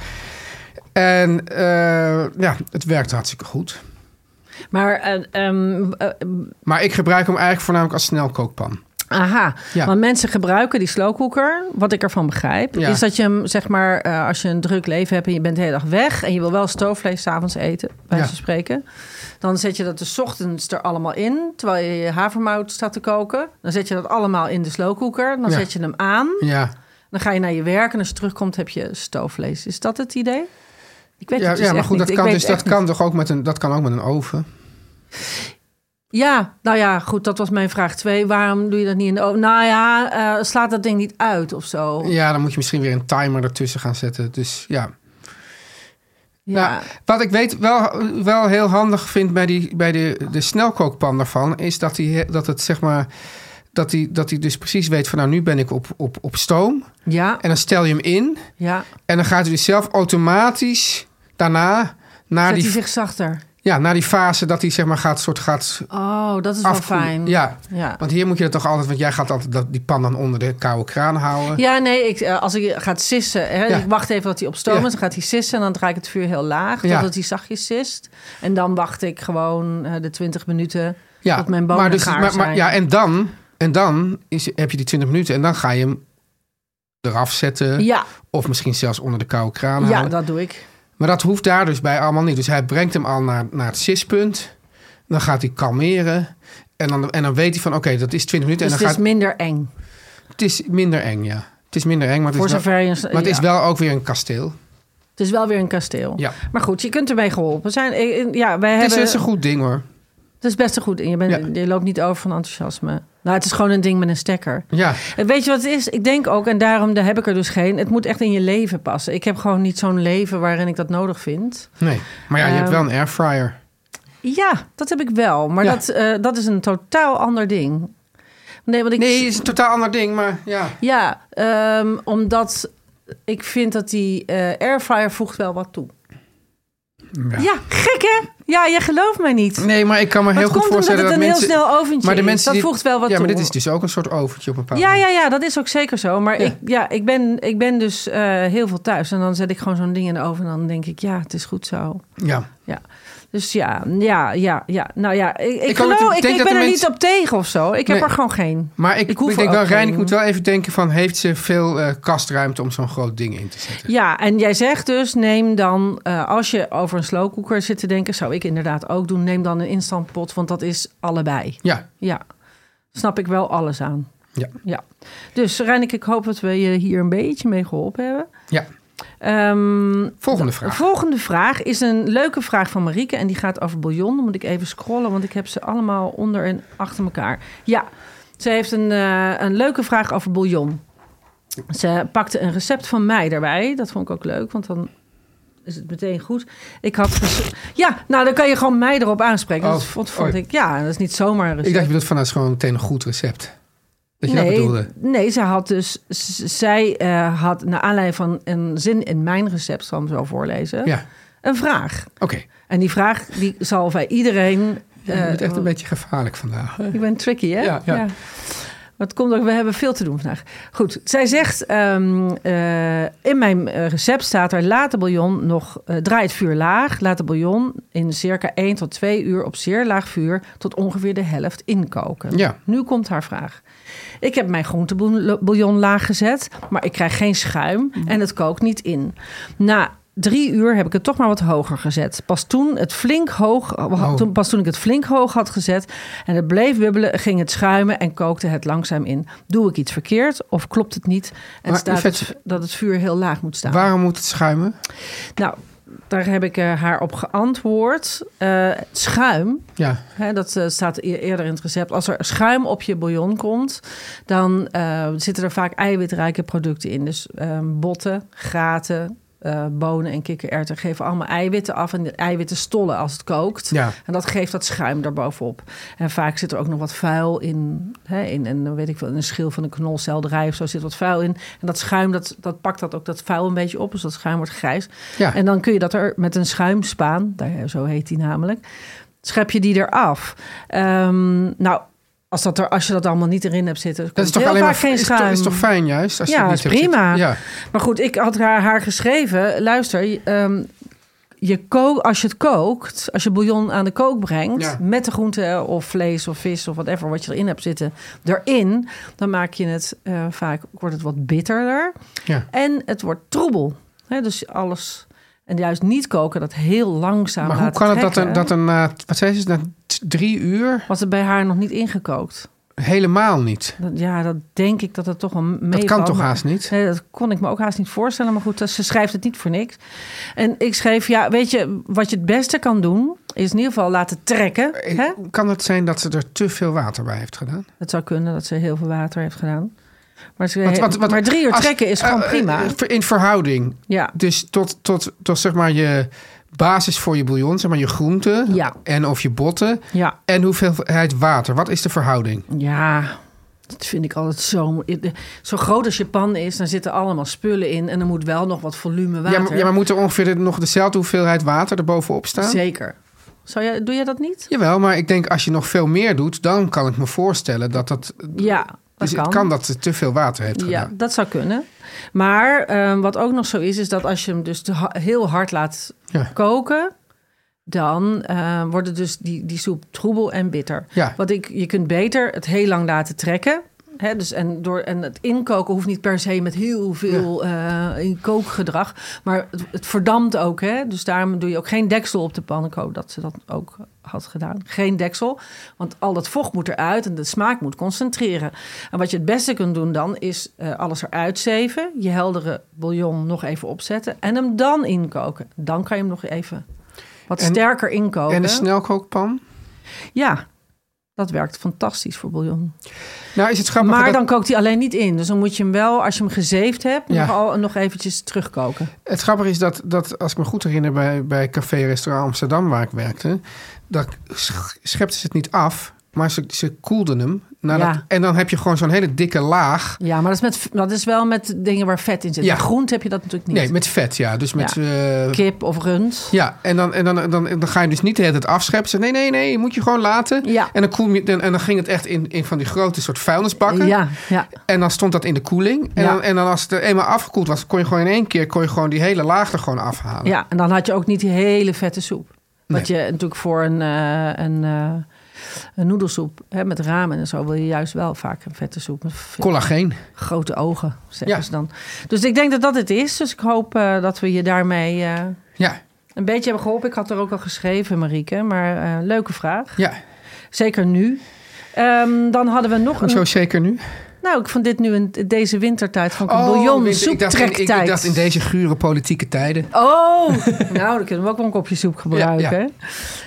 [SPEAKER 2] En eh, ja, het werkt hartstikke goed.
[SPEAKER 3] Maar, eh, ehm, eh,
[SPEAKER 2] Maar ik gebruik hem eigenlijk voornamelijk als snelkookpan.
[SPEAKER 3] aha.
[SPEAKER 2] Ja.
[SPEAKER 3] Want mensen gebruiken die slowcooker, wat ik ervan begrijp,
[SPEAKER 2] Ja.
[SPEAKER 3] is dat je hem, zeg maar, eh, als je een druk leven hebt en je bent de hele dag weg en je wil wel stoofvlees s'avonds eten, bij
[SPEAKER 2] Ja.
[SPEAKER 3] wijze van spreken, dan zet je dat de 's ochtends er allemaal in, terwijl je je havermout staat te koken. Dan zet je dat allemaal in de slowcooker, dan
[SPEAKER 2] Ja.
[SPEAKER 3] zet je hem aan,
[SPEAKER 2] Ja,
[SPEAKER 3] dan ga je naar je werk en als je terugkomt heb je stoofvlees. Is dat het idee? Ik weet
[SPEAKER 2] ja,
[SPEAKER 3] het dus
[SPEAKER 2] ja maar
[SPEAKER 3] echt
[SPEAKER 2] goed,
[SPEAKER 3] niet.
[SPEAKER 2] dat
[SPEAKER 3] Ik
[SPEAKER 2] kan,
[SPEAKER 3] weet
[SPEAKER 2] dus,
[SPEAKER 3] het
[SPEAKER 2] dat
[SPEAKER 3] echt
[SPEAKER 2] kan toch ook met een, dat kan ook met een oven.
[SPEAKER 3] Ja, nou ja, goed, dat was mijn vraag 2. Waarom doe je dat niet in de oven? Nou ja, eh, slaat dat ding niet uit of zo?
[SPEAKER 2] Ja, dan moet je misschien weer een timer ertussen gaan zetten. Dus ja.
[SPEAKER 3] Ja.
[SPEAKER 2] Nou, wat ik weet wel, wel heel handig vind bij, die, bij de, de snelkookpan daarvan, is dat, die, dat het zeg maar. Dat hij, dat hij dus precies weet van nou, nu ben ik op, op, op stoom.
[SPEAKER 3] ja,
[SPEAKER 2] En dan stel je hem in.
[SPEAKER 3] ja.
[SPEAKER 2] En dan gaat hij dus zelf automatisch daarna naar,
[SPEAKER 3] Zet hij
[SPEAKER 2] die,
[SPEAKER 3] zich zachter.
[SPEAKER 2] ja, naar die fase dat hij zeg maar gaat soort gaat
[SPEAKER 3] Oh, dat is wel
[SPEAKER 2] afkoelen.
[SPEAKER 3] fijn.
[SPEAKER 2] Ja.
[SPEAKER 3] Ja.
[SPEAKER 2] Want hier moet je dat toch altijd, want jij gaat altijd dat, die pan dan onder de koude kraan houden.
[SPEAKER 3] Ja, nee, ik, eh, als ik ga sissen, hè,
[SPEAKER 2] Ja.
[SPEAKER 3] ik wacht even dat hij op stoom
[SPEAKER 2] Ja.
[SPEAKER 3] is, dan gaat hij sissen en dan draai ik het vuur heel laag,
[SPEAKER 2] Ja.
[SPEAKER 3] totdat hij zachtjes sist. En dan wacht ik gewoon eh, de 20 minuten tot mijn bonen
[SPEAKER 2] maar dus,
[SPEAKER 3] gaar
[SPEAKER 2] maar, maar,
[SPEAKER 3] zijn.
[SPEAKER 2] Ja, en dan, en dan is, heb je die 20 minuten en dan ga je hem eraf zetten.
[SPEAKER 3] ja,
[SPEAKER 2] Of misschien zelfs onder de koude kraan
[SPEAKER 3] ja,
[SPEAKER 2] halen.
[SPEAKER 3] dat doe ik.
[SPEAKER 2] Maar dat hoeft daar dus bij allemaal niet. Dus hij brengt hem al naar, naar het sispunt. Dan gaat hij kalmeren. En dan, en dan weet hij van, oké, dat is 20 minuten.
[SPEAKER 3] Dus
[SPEAKER 2] en
[SPEAKER 3] het
[SPEAKER 2] dan
[SPEAKER 3] is
[SPEAKER 2] gaat,
[SPEAKER 3] minder eng.
[SPEAKER 2] het is minder eng, ja. Het is minder eng, maar het,
[SPEAKER 3] Voor
[SPEAKER 2] is, wel,
[SPEAKER 3] zover je... een-
[SPEAKER 2] maar het
[SPEAKER 3] ja.
[SPEAKER 2] is wel ook weer een kasteel.
[SPEAKER 3] Het is wel weer een kasteel.
[SPEAKER 2] Ja.
[SPEAKER 3] Maar goed, je kunt ermee geholpen zijn. Ik- ik- Ja, wij
[SPEAKER 2] Het is,
[SPEAKER 3] hebben...
[SPEAKER 2] het is een goed ding, hoor.
[SPEAKER 3] Het is best een goed. En je, bent,
[SPEAKER 2] Ja.
[SPEAKER 3] je loopt niet over van enthousiasme. Nou, het is gewoon een ding met een stekker.
[SPEAKER 2] Ja,
[SPEAKER 3] En weet je wat het is? Ik denk ook, en daarom daar heb ik er dus geen. Het moet echt in je leven passen. Ik heb gewoon niet zo'n leven waarin ik dat nodig vind.
[SPEAKER 2] nee. Maar ja, je hebt
[SPEAKER 3] Ehm,
[SPEAKER 2] wel een airfryer.
[SPEAKER 3] Ja, dat heb ik wel. Maar
[SPEAKER 2] Ja.
[SPEAKER 3] dat, eh, dat is een totaal ander ding. Nee, want ik.
[SPEAKER 2] Nee, het is een totaal ander ding, maar ja.
[SPEAKER 3] Ja, ehm, omdat ik vind dat die eh, airfryer voegt wel wat toe. Ja. gek hè? Ja, jij gelooft mij niet.
[SPEAKER 2] Nee, maar ik kan me heel
[SPEAKER 3] het
[SPEAKER 2] goed
[SPEAKER 3] komt omdat
[SPEAKER 2] voorstellen
[SPEAKER 3] het
[SPEAKER 2] dat
[SPEAKER 3] een
[SPEAKER 2] mensen...
[SPEAKER 3] heel snel oventje
[SPEAKER 2] maar de
[SPEAKER 3] is.
[SPEAKER 2] mensen
[SPEAKER 3] Dat
[SPEAKER 2] die-
[SPEAKER 3] voegt wel wat
[SPEAKER 2] Ja, maar
[SPEAKER 3] toe.
[SPEAKER 2] dit is dus ook een soort oventje op een bepaalde
[SPEAKER 3] Ja, ja, ja, dat is ook zeker zo. Maar
[SPEAKER 2] Ja.
[SPEAKER 3] Ik, ja, ik, ben, ik ben dus eh, heel veel thuis. En dan zet ik gewoon zo'n ding in de oven. En dan denk ik, ja, het is goed zo.
[SPEAKER 2] Ja.
[SPEAKER 3] Ja. Dus ja, ja, ja, ja. Nou ja, ik, ik,
[SPEAKER 2] Ik kan
[SPEAKER 3] geloof,
[SPEAKER 2] natuurlijk
[SPEAKER 3] ik,
[SPEAKER 2] denk
[SPEAKER 3] ik
[SPEAKER 2] dat
[SPEAKER 3] ben
[SPEAKER 2] de
[SPEAKER 3] er
[SPEAKER 2] mensen-
[SPEAKER 3] niet op tegen of zo. Ik heb
[SPEAKER 2] Nee.
[SPEAKER 3] er gewoon geen.
[SPEAKER 2] Maar ik,
[SPEAKER 3] Ik
[SPEAKER 2] ik,
[SPEAKER 3] hoef
[SPEAKER 2] denk
[SPEAKER 3] er
[SPEAKER 2] wel,
[SPEAKER 3] ook
[SPEAKER 2] Rijn, ik
[SPEAKER 3] geen.
[SPEAKER 2] moet wel even denken van... heeft ze veel eh, kastruimte om zo'n groot ding in te zetten?
[SPEAKER 3] Ja, en jij zegt dus, neem dan, eh, als je over een slowcooker zit te denken, zou ik inderdaad ook doen, neem dan een instantpot, want dat is allebei.
[SPEAKER 2] Ja,
[SPEAKER 3] Ja, snap ik wel alles aan.
[SPEAKER 2] ja,
[SPEAKER 3] Ja. Dus Reinik, ik hoop dat we je hier een beetje mee geholpen hebben.
[SPEAKER 2] ja.
[SPEAKER 3] Ehm,
[SPEAKER 2] Volgende
[SPEAKER 3] de
[SPEAKER 2] vraag.
[SPEAKER 3] volgende vraag is een leuke vraag van Marieke en die gaat over bouillon. Dan moet ik even scrollen, want ik heb ze allemaal onder en achter elkaar. Ja, ze heeft een, eh, een leuke vraag over bouillon. Ze pakte een recept van mij daarbij. Dat vond ik ook leuk, want dan is het meteen goed. Ik had... pers- Ja, nou dan kan je gewoon mij erop aanspreken.
[SPEAKER 2] Oh,
[SPEAKER 3] dat vond, vond
[SPEAKER 2] oh.
[SPEAKER 3] ik... Ja, dat is niet zomaar een
[SPEAKER 2] ik
[SPEAKER 3] recept.
[SPEAKER 2] dacht, je bedoelt van, dat is gewoon meteen een goed recept. Dat je dat bedoelde.
[SPEAKER 3] Nee, ze had dus. z- Zij eh, had naar aanleiding van een zin in mijn recept, zal ik hem zo voorlezen.
[SPEAKER 2] Ja,
[SPEAKER 3] Een vraag.
[SPEAKER 2] oké.
[SPEAKER 3] En die vraag die zal bij iedereen.
[SPEAKER 2] Je
[SPEAKER 3] eh,
[SPEAKER 2] bent echt een beetje gevaarlijk vandaag.
[SPEAKER 3] ik ben tricky, hè?
[SPEAKER 2] Ja, ja.
[SPEAKER 3] Dat komt ook, we hebben veel te doen vandaag. Goed, zij zegt, ehm, eh, in mijn eh, recept staat er, laat de bouillon nog, eh, draai het vuur laag. Laat de bouillon in circa 1 tot 2 uur op zeer laag vuur tot ongeveer de helft inkoken.
[SPEAKER 2] Ja.
[SPEAKER 3] Nu komt haar vraag. Ik heb mijn groentebouillon laag gezet, maar ik krijg geen schuim
[SPEAKER 2] Mhm.
[SPEAKER 3] en het kookt niet in. Na drie uur heb ik het toch maar wat hoger gezet. Pas toen, het flink hoog,
[SPEAKER 2] Oh.
[SPEAKER 3] toen, pas toen ik het flink hoog had gezet en het bleef wibbelen, ging het schuimen en kookte het langzaam in. Doe ik iets verkeerd of klopt het niet en
[SPEAKER 2] Maar
[SPEAKER 3] staat het,
[SPEAKER 2] Yvette,
[SPEAKER 3] dat het vuur heel laag moet staan?
[SPEAKER 2] Waarom moet het schuimen?
[SPEAKER 3] Nou, daar heb ik eh, haar op geantwoord. Eh, schuim
[SPEAKER 2] Ja.
[SPEAKER 3] Hè, dat eh, staat e- eerder in het recept. Als er schuim op je bouillon komt, dan eh, zitten er vaak eiwitrijke producten in. Dus eh, botten, graten, eh, bonen en kikkererwten geven allemaal eiwitten af. En de eiwitten stollen als het kookt.
[SPEAKER 2] Ja.
[SPEAKER 3] En dat geeft dat schuim daarbovenop. En vaak zit er ook nog wat vuil in. Hè, in, en dan weet ik wel, in een schil van een knolselderij of zo zit wat vuil in. En dat schuim, dat, dat pakt dat ook dat vuil een beetje op. Dus dat schuim wordt grijs.
[SPEAKER 2] Ja.
[SPEAKER 3] En dan kun je dat er met een schuimspaan, daar, eh, zo heet die namelijk, schep je die eraf. Ehm nou, als, dat er, als je dat allemaal niet erin hebt zitten,
[SPEAKER 2] Dat is toch
[SPEAKER 3] heel
[SPEAKER 2] alleen
[SPEAKER 3] vaak
[SPEAKER 2] maar
[SPEAKER 3] geen
[SPEAKER 2] is toch,
[SPEAKER 3] schuim.
[SPEAKER 2] is toch fijn juist? Als je
[SPEAKER 3] ja,
[SPEAKER 2] het
[SPEAKER 3] is
[SPEAKER 2] niet hebt
[SPEAKER 3] prima.
[SPEAKER 2] zitten. Ja.
[SPEAKER 3] Maar goed, ik had haar, haar geschreven. Luister, je, ehm, je ko- als je het kookt, als je bouillon aan de kook brengt...
[SPEAKER 2] Ja.
[SPEAKER 3] met de groente of vlees of vis of whatever wat je erin hebt zitten... erin, dan maak je het eh, vaak wordt het wat bitterder.
[SPEAKER 2] Ja.
[SPEAKER 3] En het wordt troebel. Hè, dus alles... En juist niet koken, dat heel langzaam
[SPEAKER 2] Maar hoe
[SPEAKER 3] laten
[SPEAKER 2] kan het dat er,
[SPEAKER 3] trekken,
[SPEAKER 2] dat er na, wat zei ze, na t- drie uur
[SPEAKER 3] was het bij haar nog niet ingekookt.
[SPEAKER 2] helemaal niet?
[SPEAKER 3] Dat- Ja, dat denk ik dat het toch wel meevalt.
[SPEAKER 2] Dat kan toch
[SPEAKER 3] maar-
[SPEAKER 2] haast niet?
[SPEAKER 3] Nee, dat kon ik me ook haast niet voorstellen. Maar goed, dat- ze schrijft het niet voor niks. En ik schreef, ja, weet je, wat je het beste kan doen... is in ieder geval laten trekken. Hè?
[SPEAKER 2] Kan het zijn dat ze er te veel water bij heeft gedaan?
[SPEAKER 3] Het zou kunnen dat ze heel veel water heeft gedaan. Maar, ze,
[SPEAKER 2] Want- want- want
[SPEAKER 3] Eh, maar drie uur
[SPEAKER 2] als-
[SPEAKER 3] trekken is
[SPEAKER 2] eh,
[SPEAKER 3] gewoon
[SPEAKER 2] eh,
[SPEAKER 3] prima.
[SPEAKER 2] eh, In verhouding.
[SPEAKER 3] Ja.
[SPEAKER 2] Dus tot, tot, tot zeg maar je basis voor je bouillon, zeg maar je groenten
[SPEAKER 3] Ja.
[SPEAKER 2] en of je botten.
[SPEAKER 3] Ja.
[SPEAKER 2] En hoeveelheid water. Wat is de verhouding?
[SPEAKER 3] Ja, dat vind ik altijd zo... Zo groot als je pan is, dan zitten allemaal spullen in... en er moet wel nog wat volume
[SPEAKER 2] Ja,
[SPEAKER 3] water.
[SPEAKER 2] maar, ja, maar moet er ongeveer de- nog dezelfde hoeveelheid water erbovenop staan?
[SPEAKER 3] Zeker. Zou jij, doe jij dat niet?
[SPEAKER 2] Jawel, maar ik denk als je nog veel meer doet, dan kan ik me voorstellen dat dat.
[SPEAKER 3] Ja, dat
[SPEAKER 2] dus
[SPEAKER 3] kan.
[SPEAKER 2] het kan dat ze te veel water heeft
[SPEAKER 3] Ja,
[SPEAKER 2] gedaan.
[SPEAKER 3] dat zou kunnen. Maar ehm, wat ook nog zo is, is dat als je hem dus te ha- heel hard laat
[SPEAKER 2] Ja.
[SPEAKER 3] koken, dan eh, worden dus die, die soep troebel en bitter.
[SPEAKER 2] Ja.
[SPEAKER 3] Wat ik, je kunt beter het heel lang laten trekken. Hè, dus en, door, en het inkoken hoeft niet per se met heel veel eh, in kookgedrag. Maar het, het verdampt ook. Hè? Dus daarom doe je ook geen deksel op de pan. Ik hoop dat ze dat ook had gedaan. Geen deksel. Want al dat vocht moet eruit en de smaak moet concentreren. En wat je het beste kunt doen dan is eh, alles eruit zeven. Je heldere bouillon nog even opzetten. En hem dan inkoken. Dan kan je hem nog even wat
[SPEAKER 2] En-
[SPEAKER 3] sterker inkoken.
[SPEAKER 2] En de snelkookpan?
[SPEAKER 3] Ja, dat werkt fantastisch voor bouillon.
[SPEAKER 2] Nou, is het grappig.
[SPEAKER 3] maar
[SPEAKER 2] dat,
[SPEAKER 3] dan kookt hij alleen niet in. Dus dan moet je hem wel, als je hem gezeefd hebt,
[SPEAKER 2] Ja.
[SPEAKER 3] nog, al, nog eventjes terugkoken.
[SPEAKER 2] Het grappige is dat, dat, als ik me goed herinner, bij, bij Café Restaurant Amsterdam, waar ik werkte, dat sch- schepten ze het niet af, maar ze, ze koelden hem. nadat-
[SPEAKER 3] Ja.
[SPEAKER 2] En dan heb je gewoon zo'n hele dikke laag.
[SPEAKER 3] Ja, maar dat is, met, dat is wel met dingen waar vet in zit.
[SPEAKER 2] Ja.
[SPEAKER 3] Met groente heb je dat natuurlijk niet.
[SPEAKER 2] Nee, met vet, ja. Dus met. eh,
[SPEAKER 3] Kip of rund.
[SPEAKER 2] ja, en, dan, en dan, dan, dan ga je dus niet de hele tijd afscheppen. Ze zeggen, nee, nee, nee, moet je gewoon laten.
[SPEAKER 3] Ja.
[SPEAKER 2] En, dan koel je, en, en dan ging het echt in, in van die grote soort vuilnisbakken.
[SPEAKER 3] Ja, ja.
[SPEAKER 2] En dan stond dat in de koeling. En,
[SPEAKER 3] Ja.
[SPEAKER 2] dan, en dan als het er eenmaal afgekoeld was, kon je gewoon in één keer kon je gewoon die hele laag er gewoon afhalen.
[SPEAKER 3] ja, en dan had je ook niet die hele vette soep. Wat
[SPEAKER 2] Nee.
[SPEAKER 3] je natuurlijk voor een, eh, een, eh, een noedelsoep hè, met ramen en zo wil je juist wel vaak een vette soep. Met veel-
[SPEAKER 2] Collageen.
[SPEAKER 3] grote ogen, zeggen
[SPEAKER 2] Ja.
[SPEAKER 3] ze dan. Dus ik denk dat dat het is. Dus ik hoop eh, dat we je daarmee eh,
[SPEAKER 2] Ja,
[SPEAKER 3] een beetje hebben geholpen. Ik had er ook al geschreven, Marieke. Maar eh, leuke vraag.
[SPEAKER 2] ja.
[SPEAKER 3] Zeker nu. Ehm, dan hadden we nog een...
[SPEAKER 2] Hoezo zeker nu?
[SPEAKER 3] Nou, ik vond dit nu een, deze wintertijd van een
[SPEAKER 2] Oh,
[SPEAKER 3] bouillon
[SPEAKER 2] winter. Ik dacht in- ik-
[SPEAKER 3] soeptrektijd.
[SPEAKER 2] Ik dacht in deze gure politieke tijden.
[SPEAKER 3] Oh, nou, dan kunnen we ook wel een kopje soep gebruiken.
[SPEAKER 2] Ja,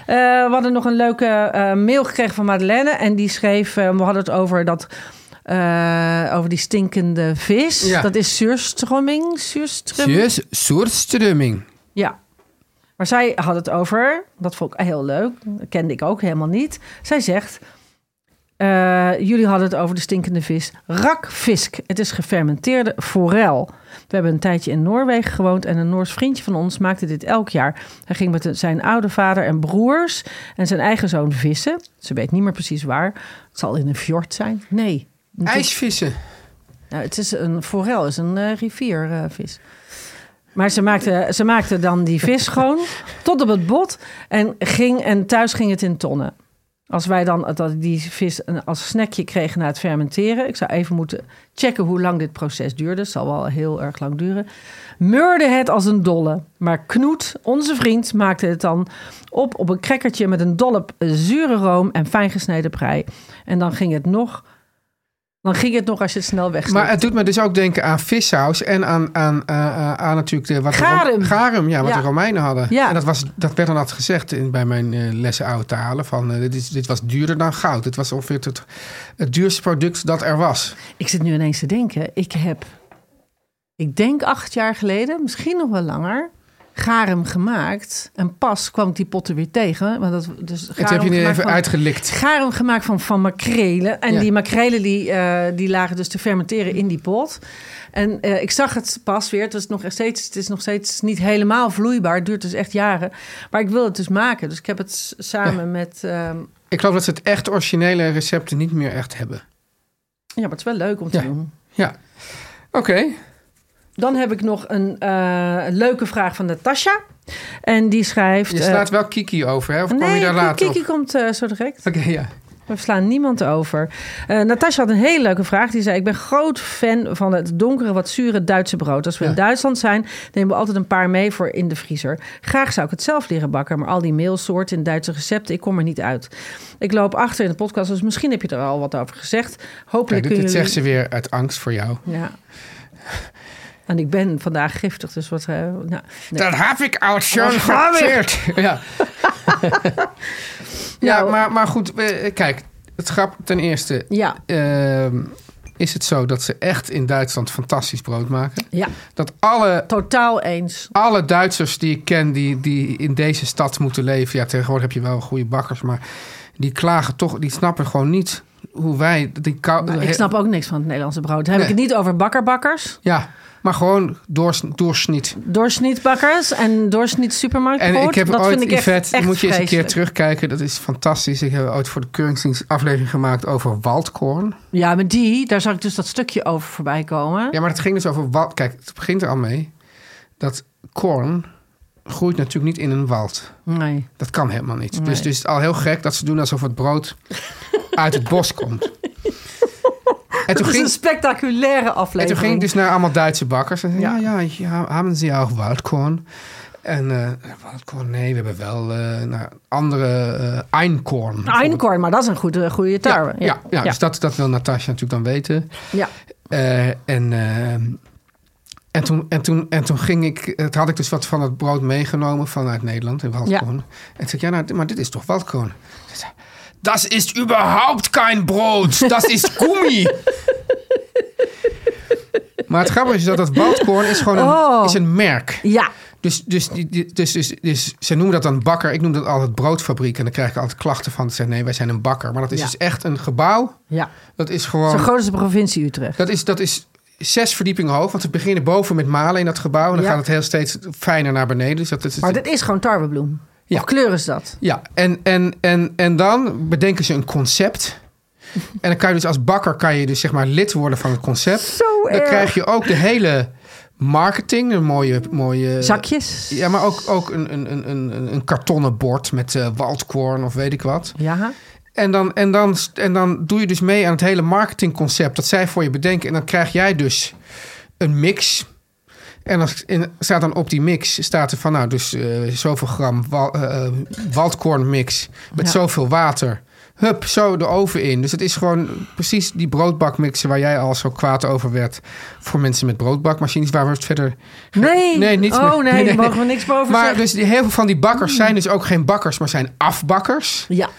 [SPEAKER 3] Eh, we hadden nog een leuke eh, mail gekregen van Madeleine. En die schreef, eh, we hadden het over dat... eh, over die stinkende vis.
[SPEAKER 2] Ja.
[SPEAKER 3] Dat is zuurströmming. Zuurströmming.
[SPEAKER 2] Zus, soortstrumming.
[SPEAKER 3] Ja. Maar zij had het over, dat vond ik heel leuk, dat kende ik ook helemaal niet. Zij zegt, eh, jullie hadden het over de stinkende vis rakfisk. Het is gefermenteerde forel. We hebben een tijdje in Noorwegen gewoond en een Noors vriendje van ons maakte dit elk jaar. Hij ging met zijn oude vader en broers en zijn eigen zoon vissen. Ze weet niet meer precies waar. Het zal in een fjord zijn. Nee,
[SPEAKER 2] IJsvissen.
[SPEAKER 3] Nou, het is een forel, is een eh, riviervis. maar ze maakte, ze maakte dan die vis schoon tot op het bot en, ging, en thuis ging het in tonnen. Als wij dan dat die vis een- als snackje kregen na het fermenteren. Ik zou even moeten checken hoe lang dit proces duurde. Het zal wel heel erg lang duren. Meurde het als een dolle. Maar Knoet, onze vriend, maakte het dan op op een crackertje met een dollop zure room en fijn gesneden prei. En dan ging het nog, dan ging het nog als je het snel wegsneed.
[SPEAKER 2] Maar het doet me dus ook denken aan vissaus en aan, aan, eh, eh, aan natuurlijk de, wat de,
[SPEAKER 3] Garum.
[SPEAKER 2] Rom- garum, ja, wat
[SPEAKER 3] Ja.
[SPEAKER 2] de Romeinen hadden.
[SPEAKER 3] Ja.
[SPEAKER 2] En dat, was, dat werd dan altijd gezegd in, bij mijn eh, lessen oude talen. Van, eh, dit, is, dit was duurder dan goud. Dit was ongeveer het, het duurste product dat er was.
[SPEAKER 3] Ik zit nu ineens te denken. Ik heb, ik denk acht jaar geleden, misschien nog wel langer, garum gemaakt. En pas kwam ik die potten weer tegen. Want dat, dus
[SPEAKER 2] Het
[SPEAKER 3] garum
[SPEAKER 2] heb je nu
[SPEAKER 3] gemaakt
[SPEAKER 2] even
[SPEAKER 3] van-
[SPEAKER 2] uitgelikt.
[SPEAKER 3] Garum gemaakt van, van makrelen. En
[SPEAKER 2] Ja.
[SPEAKER 3] die makrelen die, eh, die lagen dus te fermenteren in die pot. En eh, ik zag het pas weer. Het, was nog steeds, het is nog steeds niet helemaal vloeibaar. Het duurt dus echt jaren. Maar ik wil het dus maken. Dus ik heb het s- samen met... ehm,
[SPEAKER 2] Ik geloof dat ze het echt originele recepten niet meer echt hebben.
[SPEAKER 3] ja, maar het is wel leuk om te
[SPEAKER 2] Ja.
[SPEAKER 3] doen.
[SPEAKER 2] Ja. Oké.
[SPEAKER 3] Dan heb ik nog een eh, leuke vraag van Natasha. En die schrijft...
[SPEAKER 2] Je
[SPEAKER 3] eh,
[SPEAKER 2] slaat wel Kiki over, hè? Of kom
[SPEAKER 3] nee,
[SPEAKER 2] je daar later
[SPEAKER 3] Kiki
[SPEAKER 2] op?
[SPEAKER 3] komt eh, zo direct.
[SPEAKER 2] Oké, ja. Nou,
[SPEAKER 3] We slaan niemand over. Eh Natasja had een hele leuke vraag. Die zei: Ik ben groot fan van het donkere, wat zure Duitse brood. Als we in Duitsland zijn, nemen we altijd een paar mee voor in de vriezer. Graag zou ik het zelf leren bakken, maar al die meelsoorten in Duitse recepten, ik kom er niet uit. Ik loop achter in de podcast, dus misschien heb je er al wat over gezegd.
[SPEAKER 2] Kijk,
[SPEAKER 3] Hopelijk
[SPEAKER 2] dit,
[SPEAKER 3] kun
[SPEAKER 2] dit
[SPEAKER 3] je.
[SPEAKER 2] zegt ze weer uit angst voor jou.
[SPEAKER 3] Ja. En ik ben vandaag giftig, dus wat. eh, nou, nee.
[SPEAKER 2] Dat heb ik
[SPEAKER 3] Oh,
[SPEAKER 2] oud schon
[SPEAKER 3] Dat heb ik.
[SPEAKER 2] verteerd. Ja, ja
[SPEAKER 3] Nou,
[SPEAKER 2] maar, maar goed, eh, kijk. Het grap ten eerste.
[SPEAKER 3] Ja,
[SPEAKER 2] ehm, is het zo dat ze echt in Duitsland fantastisch brood maken?
[SPEAKER 3] ja,
[SPEAKER 2] Dat alle,
[SPEAKER 3] totaal eens.
[SPEAKER 2] alle Duitsers die ik ken die, die in deze stad moeten leven... Ja, tegenwoordig heb je wel goede bakkers, maar die klagen toch... Die snappen gewoon niet hoe wij... Die kou,
[SPEAKER 3] Maar Nou, ik snap ook niks van het Nederlandse brood. Dan heb ik
[SPEAKER 2] Nee.
[SPEAKER 3] het niet over bakkerbakkers.
[SPEAKER 2] Ja, maar gewoon doors, doorsnit.
[SPEAKER 3] doorsnietbakkers en doorsniet
[SPEAKER 2] En ik heb
[SPEAKER 3] dat
[SPEAKER 2] ooit,
[SPEAKER 3] vind ik echt,
[SPEAKER 2] Yvette,
[SPEAKER 3] echt
[SPEAKER 2] moet je eens een keer
[SPEAKER 3] vreselijk.
[SPEAKER 2] terugkijken. Dat is fantastisch. Ik heb ooit voor de Keuringsdienst aflevering gemaakt over waldkorn.
[SPEAKER 3] Ja, maar die, daar zag ik dus dat stukje over voorbij komen.
[SPEAKER 2] Ja, maar het ging dus over... wal- Kijk, het begint er al mee. Dat korn groeit natuurlijk niet in een wald.
[SPEAKER 3] Nee.
[SPEAKER 2] Dat kan helemaal niet.
[SPEAKER 3] Nee.
[SPEAKER 2] Dus, dus het is al heel gek dat ze doen alsof het brood uit het bos komt. En toen
[SPEAKER 3] Het is een
[SPEAKER 2] ging,
[SPEAKER 3] spectaculaire
[SPEAKER 2] en toen
[SPEAKER 3] aflevering.
[SPEAKER 2] ging ik dus naar allemaal Duitse bakkers. En zei,
[SPEAKER 3] Ja.
[SPEAKER 2] ja, ja, ja, hebben ze ja ook waldkorn? En eh, waldkorn, nee, we hebben wel eh, nou, andere eh einkorn.
[SPEAKER 3] Einkorn, maar dat is een goede, goede tarwe.
[SPEAKER 2] Ja, ja, ja, dus dat, dat wil Natasja natuurlijk dan weten.
[SPEAKER 3] ja.
[SPEAKER 2] Eh, en, eh, en, toen, en, toen, en toen ging ik, het had ik dus wat van het brood meegenomen vanuit Nederland in Waldkorn. En toen zei ik, ja, nou, maar dit is toch Waldkorn? Ze zei, Dat is überhaupt geen brood, dat is gummi. maar het grappige is dat dat Waldkorn is gewoon een,
[SPEAKER 3] Oh.
[SPEAKER 2] is een merk.
[SPEAKER 3] Ja.
[SPEAKER 2] Dus, dus, die- die- dus, dus, dus ze noemen dat dan bakker. Ik noem dat altijd broodfabriek. En dan krijg ik altijd klachten van. Ze zeggen, nee, wij zijn een bakker. Maar dat is
[SPEAKER 3] Ja.
[SPEAKER 2] dus echt een gebouw.
[SPEAKER 3] ja.
[SPEAKER 2] Dat is
[SPEAKER 3] Zo
[SPEAKER 2] gewoon...
[SPEAKER 3] groot als de provincie Utrecht.
[SPEAKER 2] Dat is, dat is zes verdiepingen hoog. Want ze beginnen boven met malen in dat gebouw. En dan
[SPEAKER 3] Ja.
[SPEAKER 2] gaat het heel steeds fijner naar beneden. Dus dat is,
[SPEAKER 3] Maar dit is gewoon tarwebloem.
[SPEAKER 2] Ja.
[SPEAKER 3] Of kleur is dat?
[SPEAKER 2] Ja, en, en, en, en dan bedenken ze een concept. En dan kan je dus als bakker kan je dus zeg maar lid worden van het concept.
[SPEAKER 3] Zo
[SPEAKER 2] dan
[SPEAKER 3] erg.
[SPEAKER 2] krijg je ook de hele marketing. Een mooie... mooie
[SPEAKER 3] Zakjes?
[SPEAKER 2] Eh, Ja, maar ook, ook een, een, een, een, een kartonnen bord met eh waldkorn of weet ik wat.
[SPEAKER 3] Ja.
[SPEAKER 2] En dan, en, dan, en dan doe je dus mee aan het hele marketingconcept dat zij voor je bedenken. En dan krijg jij dus een mix. En dan en staat dan op die mix, staat er van nou dus eh, zoveel gram wal, eh, eh, waldkornmix met
[SPEAKER 3] Ja.
[SPEAKER 2] zoveel water. Hup, zo de oven in. Dus het is gewoon precies die broodbakmixen waar jij al zo kwaad over werd. Voor mensen met broodbakmachines, waar we het verder...
[SPEAKER 3] Nee.
[SPEAKER 2] Nee, niets
[SPEAKER 3] Oh
[SPEAKER 2] meer.
[SPEAKER 3] nee,
[SPEAKER 2] Nee,
[SPEAKER 3] daar
[SPEAKER 2] nee.
[SPEAKER 3] mogen we niks boven
[SPEAKER 2] Maar
[SPEAKER 3] zeggen.
[SPEAKER 2] dus die, heel veel van die
[SPEAKER 3] Mm.
[SPEAKER 2] bakkers zijn dus ook geen bakkers, maar zijn afbakkers.
[SPEAKER 3] Ja.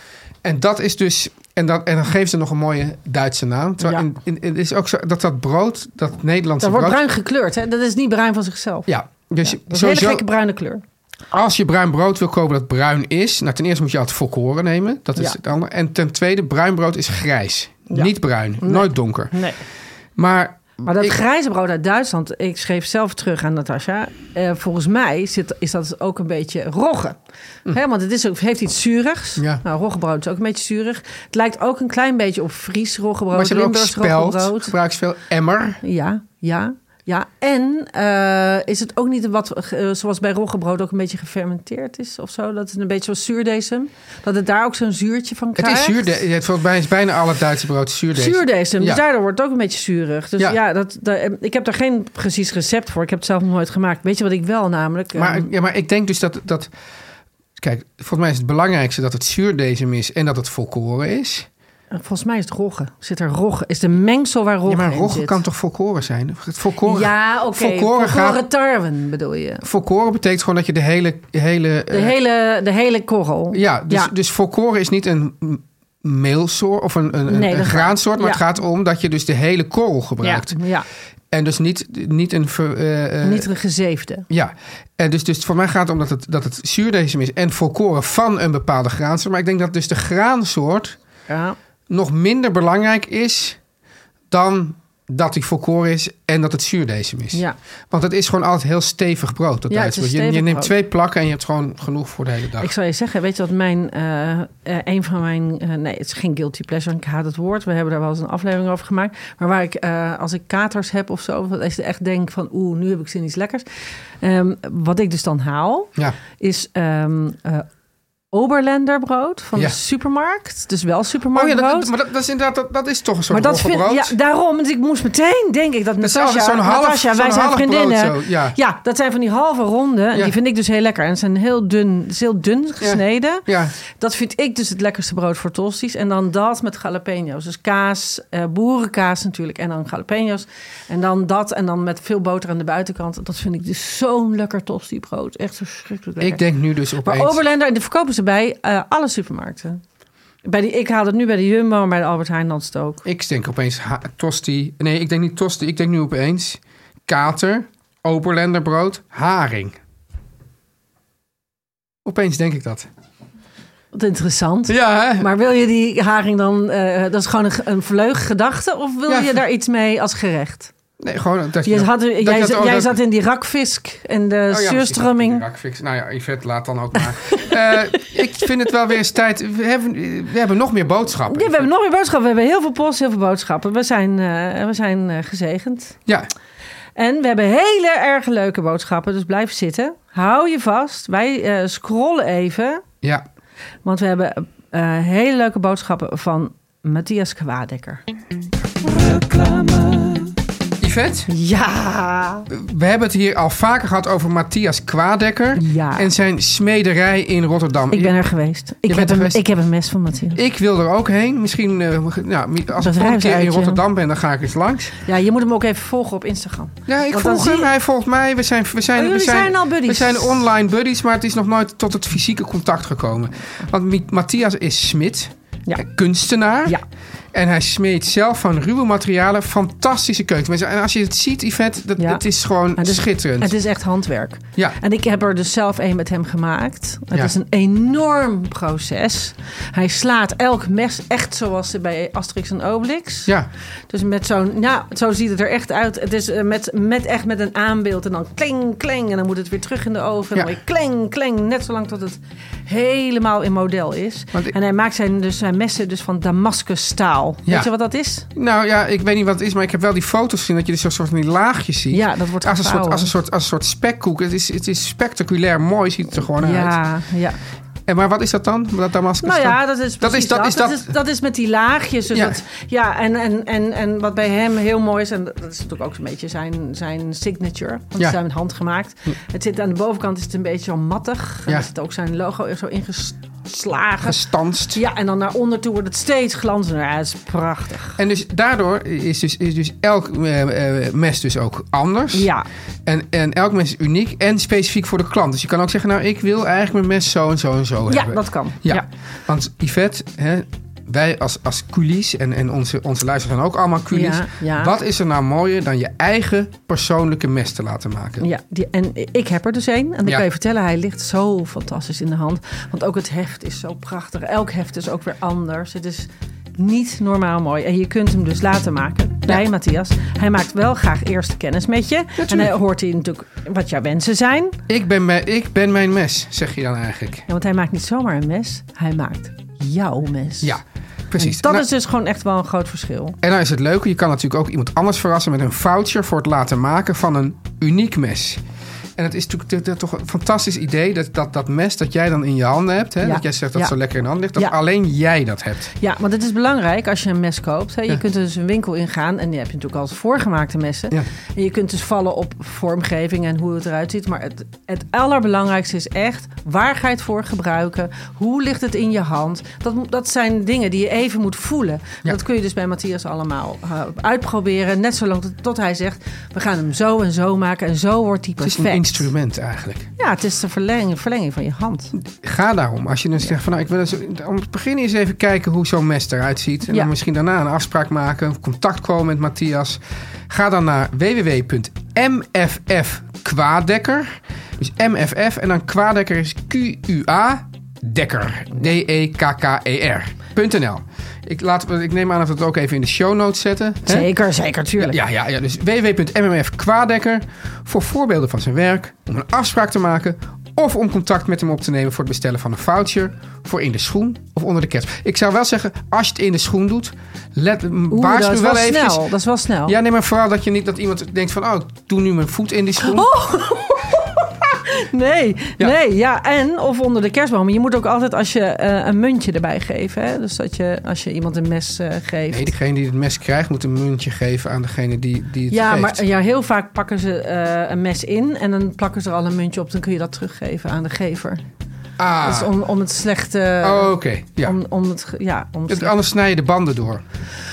[SPEAKER 2] En dat is dus. En, dat, en dan geven ze nog een mooie Duitse naam. Terwijl
[SPEAKER 3] Ja.
[SPEAKER 2] in- in- het is ook zo dat dat brood, dat Nederlandse
[SPEAKER 3] Dat wordt
[SPEAKER 2] brood.
[SPEAKER 3] bruin gekleurd. Hè? Dat is niet bruin van zichzelf.
[SPEAKER 2] Ja, dus
[SPEAKER 3] Dat is een hele
[SPEAKER 2] sowieso,
[SPEAKER 3] gekke bruine kleur.
[SPEAKER 2] als je bruin brood wil kopen dat bruin is. Nou, ten eerste moet je altijd volkoren nemen. Dat is
[SPEAKER 3] Ja.
[SPEAKER 2] het andere. En ten tweede, bruin brood is grijs.
[SPEAKER 3] Ja.
[SPEAKER 2] Niet bruin, nooit donker.
[SPEAKER 3] Nee.
[SPEAKER 2] Maar
[SPEAKER 3] Maar dat
[SPEAKER 2] Ik-
[SPEAKER 3] grijze brood uit Duitsland, ik schreef zelf terug aan Natasja. eh, volgens mij zit, is dat ook een beetje rogge. Hè, want het is ook, heeft iets zurigs.
[SPEAKER 2] Hm. Ja.
[SPEAKER 3] Nou, roggebrood is ook een beetje zurig. Het lijkt ook een klein beetje op Fries roggebrood.
[SPEAKER 2] Maar ze hebben ook
[SPEAKER 3] Limburgs
[SPEAKER 2] speld,
[SPEAKER 3] roggebrood.
[SPEAKER 2] gebruiksspel, emmer.
[SPEAKER 3] Ja, ja, ja. En eh, is het ook niet wat, eh, zoals bij roggebrood ook een beetje gefermenteerd is of zo? Dat het een beetje zoals zuurdesem, dat het daar ook zo'n zuurtje van
[SPEAKER 2] Het
[SPEAKER 3] krijgt?
[SPEAKER 2] is zuurde. Het volgens mij is bijna al het Duitse brood zuurdesem.
[SPEAKER 3] Zuurdesem, dus
[SPEAKER 2] Ja.
[SPEAKER 3] daardoor wordt het ook een beetje zuurig. Dus ja,
[SPEAKER 2] Ja.
[SPEAKER 3] dat, daar- ik heb daar geen precies recept voor. Ik heb het zelf nog nooit gemaakt. Weet je wat ik wel namelijk...
[SPEAKER 2] Maar,
[SPEAKER 3] ehm,
[SPEAKER 2] ja, maar ik denk dus dat, dat... Kijk, volgens mij is het belangrijkste dat het zuurdesem is en dat het volkoren is.
[SPEAKER 3] volgens mij is het rogge. Zit er rogge? Is de mengsel waar
[SPEAKER 2] ja,
[SPEAKER 3] rogge
[SPEAKER 2] maar
[SPEAKER 3] in
[SPEAKER 2] rogge
[SPEAKER 3] zit?
[SPEAKER 2] kan toch volkoren zijn? Het volkoren,
[SPEAKER 3] Ja, oké.
[SPEAKER 2] Volkoren, gaat,
[SPEAKER 3] Volkoren tarwen bedoel je.
[SPEAKER 2] volkoren betekent gewoon dat je de hele... hele,
[SPEAKER 3] De,
[SPEAKER 2] eh,
[SPEAKER 3] hele, de hele korrel.
[SPEAKER 2] ja, dus, dus volkoren is niet een meelsoort of een, een, een-
[SPEAKER 3] Nee,
[SPEAKER 2] een
[SPEAKER 3] dat-
[SPEAKER 2] graansoort. Maar
[SPEAKER 3] ja.
[SPEAKER 2] het gaat om dat je dus de hele korrel gebruikt.
[SPEAKER 3] ja, ja.
[SPEAKER 2] En dus niet, niet een... ver- eh, eh,
[SPEAKER 3] niet een gezeefde.
[SPEAKER 2] Ja, en dus, dus voor mij gaat het om dat het, dat het zuurdesem is en volkoren van een bepaalde graansoort. Maar ik denk dat dus de graansoort
[SPEAKER 3] Ja.
[SPEAKER 2] nog minder belangrijk is dan dat die volkoren is en dat het zuurdesem is.
[SPEAKER 3] Ja.
[SPEAKER 2] Want het is gewoon altijd heel stevig brood. Dat
[SPEAKER 3] Ja, het
[SPEAKER 2] Duitse
[SPEAKER 3] is
[SPEAKER 2] brood. je, je
[SPEAKER 3] stevig
[SPEAKER 2] neemt
[SPEAKER 3] brood.
[SPEAKER 2] twee plakken en je hebt gewoon genoeg voor de hele dag.
[SPEAKER 3] Ik zal je zeggen, weet je wat mijn, eh, eh, een van mijn, eh, nee het is geen guilty pleasure, ik haat het woord. We hebben daar wel eens een aflevering over gemaakt. Maar waar ik, eh, als ik katers heb of zo, of als ik echt denk van oeh, nu heb ik zin in iets lekkers. Ehm, wat ik dus dan haal,
[SPEAKER 2] Ja,
[SPEAKER 3] is ehm eh Oberlander brood van
[SPEAKER 2] Ja.
[SPEAKER 3] de supermarkt. Dus wel
[SPEAKER 2] oh ja
[SPEAKER 3] supermarktbrood.
[SPEAKER 2] dat, maar dat, dat is inderdaad, dat, dat is toch een soort
[SPEAKER 3] maar dat
[SPEAKER 2] roggebrood.
[SPEAKER 3] vind ja, daarom. Dus ik moest meteen, denk ik, dat
[SPEAKER 2] is altijd
[SPEAKER 3] Natasja,
[SPEAKER 2] zo'n half-
[SPEAKER 3] Natasja, wij
[SPEAKER 2] zo'n
[SPEAKER 3] zijn
[SPEAKER 2] half brood
[SPEAKER 3] vriendinnen.
[SPEAKER 2] zo, ja.
[SPEAKER 3] dat zijn van die halve ronden. En
[SPEAKER 2] Ja.
[SPEAKER 3] die vind ik dus heel lekker. En ze zijn heel dun, het is heel dun gesneden.
[SPEAKER 2] Ja.
[SPEAKER 3] Dat vind ik dus het lekkerste brood voor tosti's. En dan dat met jalapeno's. Dus kaas, eh, boerenkaas natuurlijk. En dan jalapeno's. En dan dat. En dan met veel boter aan de buitenkant. Dat vind ik dus zo'n lekker tosti brood. Echt verschrikkelijk lekker.
[SPEAKER 2] Ik denk nu dus
[SPEAKER 3] Maar
[SPEAKER 2] opeens...
[SPEAKER 3] Oberlander, en die verkopen ze bij eh, alle supermarkten. Bij die, ik haal het nu bij de Jumbo, maar bij de Albert Heijn had het ook.
[SPEAKER 2] Ik denk opeens ha- tosti. Nee, ik denk niet tosti. Ik denk nu opeens kater, oberlenderbrood, haring. Opeens denk ik dat.
[SPEAKER 3] Wat interessant.
[SPEAKER 2] Ja, hè?
[SPEAKER 3] Maar wil je die haring dan... eh, dat is gewoon een, ge- een vleug gedachte? Of wil
[SPEAKER 2] Ja.
[SPEAKER 3] je daar iets mee als gerecht?
[SPEAKER 2] Nee, gewoon dat je...
[SPEAKER 3] Je had, jij
[SPEAKER 2] dat-
[SPEAKER 3] z-
[SPEAKER 2] oh,
[SPEAKER 3] jij
[SPEAKER 2] dat-
[SPEAKER 3] zat in die rakfisk en de
[SPEAKER 2] Oh ja,
[SPEAKER 3] zuurströmming.
[SPEAKER 2] misschien dat ik die raak fix. Nou ja, Yvette, laat dan ook maar. Eh, ik vind het wel weer eens tijd. We hebben, we hebben nog meer boodschappen.
[SPEAKER 3] Ja, we hebben nog meer boodschappen. We hebben heel veel post, heel veel boodschappen. We zijn, eh, we zijn eh, gezegend.
[SPEAKER 2] Ja,
[SPEAKER 3] En we hebben hele erg leuke boodschappen. Dus blijf zitten. Hou je vast. Wij eh, scrollen even.
[SPEAKER 2] ja.
[SPEAKER 3] Want we hebben eh, hele leuke boodschappen van Matthias Kwaadekker.
[SPEAKER 2] Yvette,
[SPEAKER 3] Ja!
[SPEAKER 2] we hebben het hier al vaker gehad over Matthias Kwaadekker
[SPEAKER 3] Ja.
[SPEAKER 2] en zijn smederij in Rotterdam.
[SPEAKER 3] Ik ben er geweest. Ik,
[SPEAKER 2] bent
[SPEAKER 3] heb
[SPEAKER 2] er
[SPEAKER 3] een,
[SPEAKER 2] geweest?
[SPEAKER 3] ik heb een mes van Matthias.
[SPEAKER 2] Ik wil er ook heen. Misschien, eh, nou, mi- als ik
[SPEAKER 3] Dat
[SPEAKER 2] de volgende keer in
[SPEAKER 3] reisuitje.
[SPEAKER 2] Rotterdam ben, dan ga ik eens langs.
[SPEAKER 3] Ja, je moet hem ook even volgen op Instagram.
[SPEAKER 2] Ja, ik
[SPEAKER 3] Want dan
[SPEAKER 2] volg
[SPEAKER 3] zie
[SPEAKER 2] hem.
[SPEAKER 3] je-
[SPEAKER 2] Hij volgt mij. We zijn, we zijn,
[SPEAKER 3] Oh,
[SPEAKER 2] we
[SPEAKER 3] jullie zijn al buddies.
[SPEAKER 2] We zijn online buddies, maar het is nog nooit tot het fysieke contact gekomen. Want Mi- Matthias is smid,
[SPEAKER 3] Ja.
[SPEAKER 2] eh, kunstenaar.
[SPEAKER 3] Ja.
[SPEAKER 2] En hij smeet zelf van ruwe materialen fantastische keukens. En als je het ziet, Yvette, dat,
[SPEAKER 3] Ja.
[SPEAKER 2] het is gewoon
[SPEAKER 3] Het is-
[SPEAKER 2] schitterend.
[SPEAKER 3] Het is echt handwerk.
[SPEAKER 2] Ja.
[SPEAKER 3] En ik heb er dus zelf een met hem gemaakt. Het
[SPEAKER 2] Ja.
[SPEAKER 3] is een enorm proces. Hij slaat elk mes echt zoals ze bij Asterix en Obelix.
[SPEAKER 2] Ja,
[SPEAKER 3] Dus met zo'n, nou, zo ziet het er echt uit. Het is eh, met, met echt met een aanbeeld en dan kling, kling. En dan moet het weer terug in de oven. En
[SPEAKER 2] Ja.
[SPEAKER 3] dan weer kling, kling. Net zolang tot het helemaal in model is.
[SPEAKER 2] Want ik-
[SPEAKER 3] En hij maakt zijn, dus zijn messen dus van damaskusstaal.
[SPEAKER 2] Ja.
[SPEAKER 3] Weet je wat dat is?
[SPEAKER 2] nou ja, ik weet niet wat het is, maar ik heb wel die foto's gezien dat je dus zo'n soort van die laagjes ziet.
[SPEAKER 3] Ja, dat wordt
[SPEAKER 2] als een, soort,
[SPEAKER 3] gevouwen.
[SPEAKER 2] als, een soort, als een soort spekkoek. Het is, het is spectaculair mooi, ziet Nou, het er gewoon uit.
[SPEAKER 3] Ja, ja.
[SPEAKER 2] En, maar wat is dat dan? Dat Damascus
[SPEAKER 3] Nou ja,
[SPEAKER 2] dan?
[SPEAKER 3] dat is precies
[SPEAKER 2] Dat is- dat is-
[SPEAKER 3] dat.
[SPEAKER 2] dat-
[SPEAKER 3] is, dat is met die laagjes. Dus
[SPEAKER 2] Ja.
[SPEAKER 3] dat, ja en, en, en, en wat bij hem heel mooi is... en dat is natuurlijk ook een beetje zijn, zijn signature. Want ze
[SPEAKER 2] Ja. Hm.
[SPEAKER 3] zijn met hand gemaakt. Het zit, aan de bovenkant is het een beetje al mattig. En
[SPEAKER 2] Ja.
[SPEAKER 3] Er zit ook zijn logo er zo ingeslagen.
[SPEAKER 2] gestanst.
[SPEAKER 3] Ja, en dan naar onder toe wordt het steeds glanzender. Ja, het is prachtig.
[SPEAKER 2] En dus daardoor is dus, is dus elk eh, eh, mes dus ook anders.
[SPEAKER 3] Ja,
[SPEAKER 2] En, en elk mes is uniek en specifiek voor de klant. Dus je kan ook zeggen, nou ik wil eigenlijk mijn mes zo en zo en zo
[SPEAKER 3] ja
[SPEAKER 2] hebben.
[SPEAKER 3] dat kan.
[SPEAKER 2] Oh, Ja.
[SPEAKER 3] ja.
[SPEAKER 2] want Yvette, hè, wij als, als coolies en, en onze, onze luisteraars zijn ook allemaal coolies.
[SPEAKER 3] Ja, ja.
[SPEAKER 2] Wat is er nou mooier dan je eigen persoonlijke mes te laten maken?
[SPEAKER 3] Ja, die, en ik heb er dus één. En ik
[SPEAKER 2] Ja.
[SPEAKER 3] kan je vertellen, hij ligt zo fantastisch in de hand. Want ook het heft is zo prachtig. Elk heft is ook weer anders. Het is niet normaal mooi. En je kunt hem dus laten maken. bij Matthias. Hij maakt wel graag eerst kennis met je. En hij hoort hier natuurlijk wat jouw wensen zijn.
[SPEAKER 2] Ik ben, mijn, ik ben mijn mes, zeg je dan eigenlijk.
[SPEAKER 3] Ja, want hij maakt niet zomaar een mes, hij maakt jouw mes.
[SPEAKER 2] Ja, precies.
[SPEAKER 3] Dat
[SPEAKER 2] Nou,
[SPEAKER 3] is dus gewoon echt wel een groot verschil.
[SPEAKER 2] En dan is het leuke, je kan natuurlijk ook iemand anders verrassen met een voucher voor het laten maken van een uniek mes. En het is natuurlijk t- t- toch een fantastisch idee dat, dat dat mes dat jij dan in je handen hebt, hè,
[SPEAKER 3] Ja.
[SPEAKER 2] dat jij zegt dat
[SPEAKER 3] Ja.
[SPEAKER 2] zo lekker in de hand ligt, dat
[SPEAKER 3] Ja.
[SPEAKER 2] alleen jij dat hebt.
[SPEAKER 3] Ja, want het is belangrijk als je een mes koopt. Hè. Je
[SPEAKER 2] Ja.
[SPEAKER 3] kunt er dus een winkel ingaan en die heb je natuurlijk al voorgemaakte messen.
[SPEAKER 2] Ja.
[SPEAKER 3] En je kunt dus vallen op vormgeving en hoe het eruit ziet. Maar het, het allerbelangrijkste is echt, waar ga je het voor gebruiken? Hoe ligt het in je hand? Dat, mo- dat zijn dingen die je even moet voelen.
[SPEAKER 2] Ja.
[SPEAKER 3] Dat kun je dus bij Matthias allemaal eh, uitproberen. Net zolang tot, tot hij zegt, we gaan hem zo en zo maken. En zo wordt hij
[SPEAKER 2] Het
[SPEAKER 3] perfect.
[SPEAKER 2] is een instrument eigenlijk.
[SPEAKER 3] Ja, het is de verlenging, verlenging van je hand.
[SPEAKER 2] Ga daarom. Als je dan zegt van nou, ik wil eens, om te beginnen eens even kijken hoe zo'n mes eruit ziet. En
[SPEAKER 3] Ja.
[SPEAKER 2] dan misschien daarna een afspraak maken, of contact komen met Matthias. Ga dan naar www.mffkwadekker. Dus mff en dan kwadekker is Q-U-A dekker. E D-E-K-K-E-R. .nl. Ik, laat, ik neem aan dat we het ook even in de show notes zetten. hè?
[SPEAKER 3] Zeker, zeker, tuurlijk.
[SPEAKER 2] Ja, ja, ja. Dus www.mmfkwaadekker voor voorbeelden van zijn werk, om een afspraak te maken of om contact met hem op te nemen voor het bestellen van een voucher voor in de schoen of onder de kets. Ik zou wel zeggen, als je het in de schoen doet, let,
[SPEAKER 3] Oeh, dat
[SPEAKER 2] waarschuw
[SPEAKER 3] is
[SPEAKER 2] wel
[SPEAKER 3] wel
[SPEAKER 2] eventjes.
[SPEAKER 3] snel. Dat is wel snel.
[SPEAKER 2] Ja, nee, maar vooral dat je niet dat iemand denkt van, oh, ik doe nu mijn voet in die schoen.
[SPEAKER 3] Oh! Nee,
[SPEAKER 2] Ja.
[SPEAKER 3] nee, ja. En of onder de kerstboom. Je moet ook altijd als je eh, een muntje erbij geeft. Hè? Dus dat je als je iemand een mes eh, geeft.
[SPEAKER 2] Nee, degene die het mes krijgt moet een muntje geven aan degene die, die het
[SPEAKER 3] ja,
[SPEAKER 2] geeft.
[SPEAKER 3] maar eh, ja, heel vaak pakken ze eh, een mes in en dan plakken ze er al een muntje op. Dan kun je dat teruggeven aan de gever.
[SPEAKER 2] Ah,
[SPEAKER 3] Dus om, om het slechte.
[SPEAKER 2] oh, oké. Ja.
[SPEAKER 3] Om, om het, ge- ja, om het
[SPEAKER 2] Het-
[SPEAKER 3] slechte-
[SPEAKER 2] Anders snij je de banden door.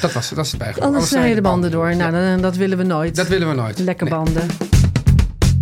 [SPEAKER 2] Dat, was, dat is het bijgevoel.
[SPEAKER 3] Anders snij je de banden door. Nou, dan- dat willen we nooit.
[SPEAKER 2] Dat willen we nooit.
[SPEAKER 3] Lekker
[SPEAKER 2] Nee.
[SPEAKER 3] banden.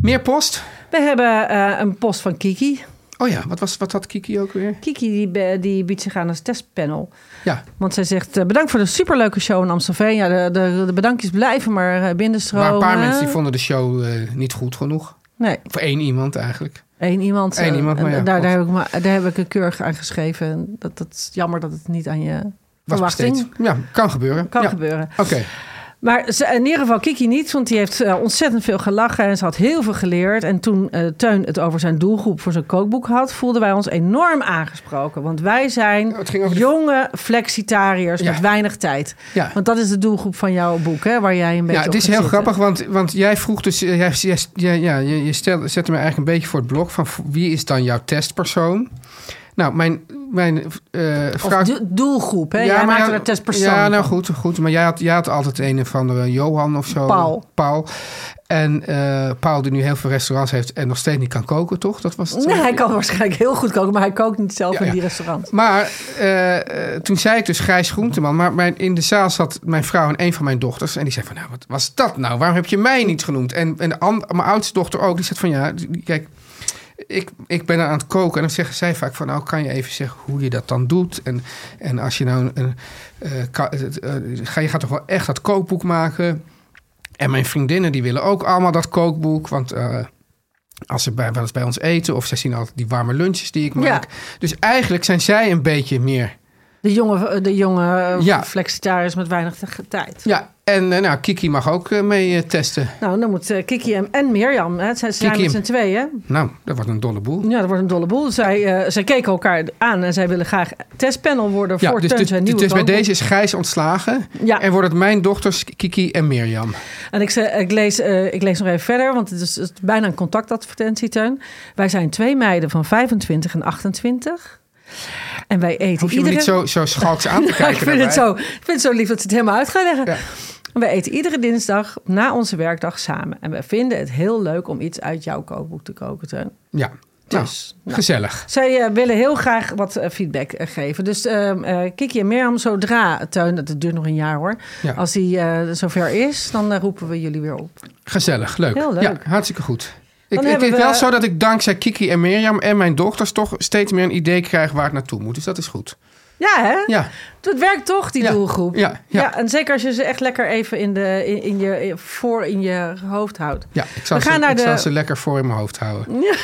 [SPEAKER 2] Meer post?
[SPEAKER 3] We hebben eh, een post van Kiki.
[SPEAKER 2] Oh ja, wat, was, wat had Kiki ook weer?
[SPEAKER 3] Kiki die, be- die biedt zich aan als testpanel.
[SPEAKER 2] Ja,
[SPEAKER 3] Want zij zegt, eh, bedankt voor de superleuke show in Amstelveen. Ja, de, de, de bedankjes blijven maar eh,
[SPEAKER 2] maar
[SPEAKER 3] binnenstromen.
[SPEAKER 2] een paar mensen die vonden de show eh, niet goed genoeg.
[SPEAKER 3] Nee,
[SPEAKER 2] Voor één iemand eigenlijk.
[SPEAKER 3] één iemand. eh,
[SPEAKER 2] Eén iemand, maar
[SPEAKER 3] en
[SPEAKER 2] ja,
[SPEAKER 3] daar, daar,
[SPEAKER 2] klopt.
[SPEAKER 3] heb ik, maar- daar heb ik een keurig aan geschreven. Dat, dat is jammer dat het niet aan je
[SPEAKER 2] Was
[SPEAKER 3] verwachting
[SPEAKER 2] besteed. Ja, kan gebeuren.
[SPEAKER 3] kan
[SPEAKER 2] Ja.
[SPEAKER 3] gebeuren.
[SPEAKER 2] Oké,
[SPEAKER 3] Maar ze- in ieder geval Kiki niet, want die heeft eh, ontzettend veel gelachen en ze had heel veel geleerd. En toen eh, Teun het over zijn doelgroep voor zijn kookboek had, voelden wij ons enorm aangesproken. Want wij zijn
[SPEAKER 2] Oh, het ging over de-
[SPEAKER 3] jonge flexitariërs
[SPEAKER 2] Ja.
[SPEAKER 3] met weinig tijd.
[SPEAKER 2] Ja.
[SPEAKER 3] Want dat is de doelgroep van jouw boek, hè, waar jij een
[SPEAKER 2] ja,
[SPEAKER 3] beetje
[SPEAKER 2] het
[SPEAKER 3] op
[SPEAKER 2] is
[SPEAKER 3] gaat
[SPEAKER 2] heel
[SPEAKER 3] zitten.
[SPEAKER 2] grappig, want, want jij vroeg dus, eh, jij, jij, ja, ja, je, je stel, zette me eigenlijk een beetje voor het blok van v- wie is dan jouw testpersoon? Nou, mijn, mijn eh
[SPEAKER 3] Of
[SPEAKER 2] vrouw...
[SPEAKER 3] do- doelgroep, hè? jij
[SPEAKER 2] maar
[SPEAKER 3] maakt
[SPEAKER 2] ja,
[SPEAKER 3] er een testpersoon
[SPEAKER 2] Ja, nou
[SPEAKER 3] van.
[SPEAKER 2] goed, goed. Maar jij had, jij had altijd een of andere Johan of zo.
[SPEAKER 3] Paul.
[SPEAKER 2] Paul. En eh, Paul die nu heel veel restaurants heeft en nog steeds niet kan koken, toch? Dat was het.
[SPEAKER 3] Nee, hij kan waarschijnlijk heel goed koken, maar hij kookt niet zelf
[SPEAKER 2] Ja,
[SPEAKER 3] in
[SPEAKER 2] ja.
[SPEAKER 3] die restaurant.
[SPEAKER 2] Maar eh, eh, toen zei ik dus Grijs Groenteman. Maar mijn, in de zaal zat mijn vrouw en een van mijn dochters. En die zei van, nou, wat was dat nou? Waarom heb je mij niet genoemd? En, en de and- mijn oudste dochter ook. Die zegt van, ja, die- kijk, ik, ik ben aan het koken. En dan zeggen zij vaak van, nou, kan je even zeggen hoe je dat dan doet? En, en als je nou een... een, eh, ka- het, eh, ga, je gaat toch wel echt dat kookboek maken? En mijn vriendinnen, die willen ook allemaal dat kookboek. Want... eh, als ze bij, wel eens bij ons eten, of zij zien altijd die warme lunches die ik
[SPEAKER 3] Ja.
[SPEAKER 2] maak. Dus eigenlijk zijn zij een beetje meer.
[SPEAKER 3] De jonge, eh, de jonge
[SPEAKER 2] Ja.
[SPEAKER 3] flexitariërs met weinig te- tijd.
[SPEAKER 2] Ja, en eh, nou, Kiki mag ook eh, mee eh, testen.
[SPEAKER 3] Nou, dan moet eh, Kiki en, en Mirjam, hè, ze zijn
[SPEAKER 2] Kiki
[SPEAKER 3] met z'n
[SPEAKER 2] en-
[SPEAKER 3] tweeën.
[SPEAKER 2] Nou, dat wordt een dolle boel.
[SPEAKER 3] Ja, dat wordt een dolle boel. Zij, eh, zij keken elkaar aan en zij willen graag testpanel worden
[SPEAKER 2] Ja,
[SPEAKER 3] voor
[SPEAKER 2] dus,
[SPEAKER 3] Teun
[SPEAKER 2] dus,
[SPEAKER 3] zijn nieuwe
[SPEAKER 2] dus bij
[SPEAKER 3] kookboek.
[SPEAKER 2] deze is Gijs ontslagen.
[SPEAKER 3] Ja.
[SPEAKER 2] En worden het mijn dochters Kiki en Mirjam.
[SPEAKER 3] En ik, ze- ik, lees, eh, ik lees nog even verder, want het is, het is bijna een contactadvertentie, Teun. Wij zijn twee meiden van 25 en 28. En wij eten
[SPEAKER 2] Hoef je me
[SPEAKER 3] iedere...
[SPEAKER 2] niet zo, zo schalks aan te kijken.
[SPEAKER 3] ik, vind het
[SPEAKER 2] daarbij.
[SPEAKER 3] zo, ik vind het zo lief dat ze het helemaal uit gaan leggen.
[SPEAKER 2] Ja.
[SPEAKER 3] We eten iedere dinsdag na onze werkdag samen. En we vinden het heel leuk om iets uit jouw kookboek te koken, Teun.
[SPEAKER 2] Ja, nou,
[SPEAKER 3] Dus, nou.
[SPEAKER 2] gezellig.
[SPEAKER 3] Zij eh, willen heel graag wat eh, feedback eh, geven. Dus ehm, eh, Kiki en Mirjam, zodra Teun, dat duurt nog een jaar hoor.
[SPEAKER 2] Ja.
[SPEAKER 3] Als die eh, zover is, dan eh, roepen we jullie weer op.
[SPEAKER 2] Gezellig, leuk.
[SPEAKER 3] Heel leuk.
[SPEAKER 2] Ja, hartstikke goed. Ik,
[SPEAKER 3] Dan
[SPEAKER 2] het is
[SPEAKER 3] hebben we-
[SPEAKER 2] wel zo dat ik dankzij Kiki en Mirjam en mijn dochters toch steeds meer een idee krijg waar het naartoe moet. Dus dat is goed.
[SPEAKER 3] Ja, hè?
[SPEAKER 2] Ja,
[SPEAKER 3] Het werkt toch, die
[SPEAKER 2] Ja,
[SPEAKER 3] doelgroep.
[SPEAKER 2] ja, ja.
[SPEAKER 3] en zeker als je ze echt lekker even in de, in, in je, in- voor in je hoofd houdt.
[SPEAKER 2] ja ik, zal
[SPEAKER 3] We
[SPEAKER 2] ze,
[SPEAKER 3] gaan naar
[SPEAKER 2] ik
[SPEAKER 3] de-
[SPEAKER 2] zal ze lekker voor in mijn hoofd houden.
[SPEAKER 3] Ja,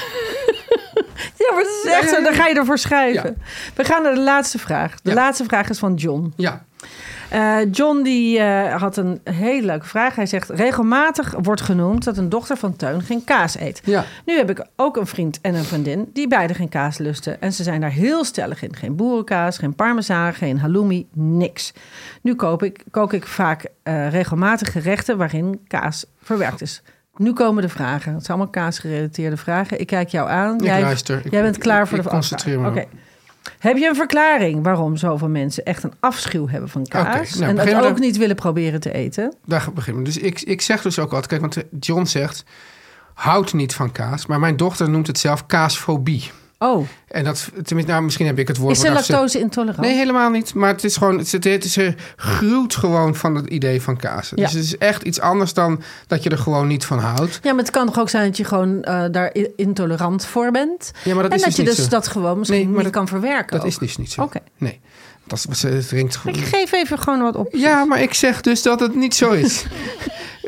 [SPEAKER 3] maar het is echt zo. Dan ga je ervoor schrijven. We gaan naar de laatste vraag. De
[SPEAKER 2] Ja.
[SPEAKER 3] laatste vraag is van John.
[SPEAKER 2] Ja.
[SPEAKER 3] Eh, John die eh, had een hele leuke vraag. Hij zegt: regelmatig wordt genoemd dat een dochter van Teun geen kaas eet.
[SPEAKER 2] Ja.
[SPEAKER 3] Nu heb ik ook een vriend en een vriendin die beide geen kaas lusten. En ze zijn daar heel stellig in. Geen boerenkaas, geen parmezaan, geen halloumi, niks. Nu koop ik, kook ik vaak eh, regelmatig gerechten waarin kaas verwerkt is. Nu komen de vragen. Het zijn allemaal kaasgerelateerde vragen. Ik kijk jou aan.
[SPEAKER 2] Ik
[SPEAKER 3] jij,
[SPEAKER 2] luister. Ik-
[SPEAKER 3] jij bent klaar
[SPEAKER 2] ik-
[SPEAKER 3] voor
[SPEAKER 2] ik
[SPEAKER 3] de
[SPEAKER 2] concentreer me.
[SPEAKER 3] Oké. Heb je een verklaring waarom zoveel mensen echt een afschuw hebben van kaas?
[SPEAKER 2] Oké, nou, begin
[SPEAKER 3] en dat
[SPEAKER 2] maar
[SPEAKER 3] ook
[SPEAKER 2] dan.
[SPEAKER 3] niet willen proberen te eten?
[SPEAKER 2] Daar beginnen we. Dus ik, ik zeg dus ook altijd, kijk, want John zegt, houdt niet van kaas. Maar mijn dochter noemt het zelf kaasfobie.
[SPEAKER 3] Oh,
[SPEAKER 2] En dat, tenminste, nou, misschien heb ik het woord...
[SPEAKER 3] is ze
[SPEAKER 2] vanaf
[SPEAKER 3] lactose intolerant?
[SPEAKER 2] Nee, helemaal niet. Maar het is gewoon, het, het, het is, ze gruwt gewoon van het idee van kaas. Dus
[SPEAKER 3] Ja.
[SPEAKER 2] het is echt iets anders dan dat je er gewoon niet van houdt.
[SPEAKER 3] Ja, maar het kan toch ook zijn dat je gewoon eh, daar i- intolerant voor bent.
[SPEAKER 2] Ja, maar dat
[SPEAKER 3] en
[SPEAKER 2] is
[SPEAKER 3] dat
[SPEAKER 2] dus
[SPEAKER 3] je
[SPEAKER 2] niet
[SPEAKER 3] dus
[SPEAKER 2] zo.
[SPEAKER 3] dat gewoon misschien
[SPEAKER 2] Nee, maar
[SPEAKER 3] niet
[SPEAKER 2] dat-
[SPEAKER 3] kan verwerken.
[SPEAKER 2] Dat
[SPEAKER 3] ook.
[SPEAKER 2] is dus niet zo.
[SPEAKER 3] Oké.
[SPEAKER 2] Nee. Dat, is- ze het drinkt
[SPEAKER 3] Ik geef even gewoon wat op.
[SPEAKER 2] Ja, maar ik zeg dus dat het niet zo is.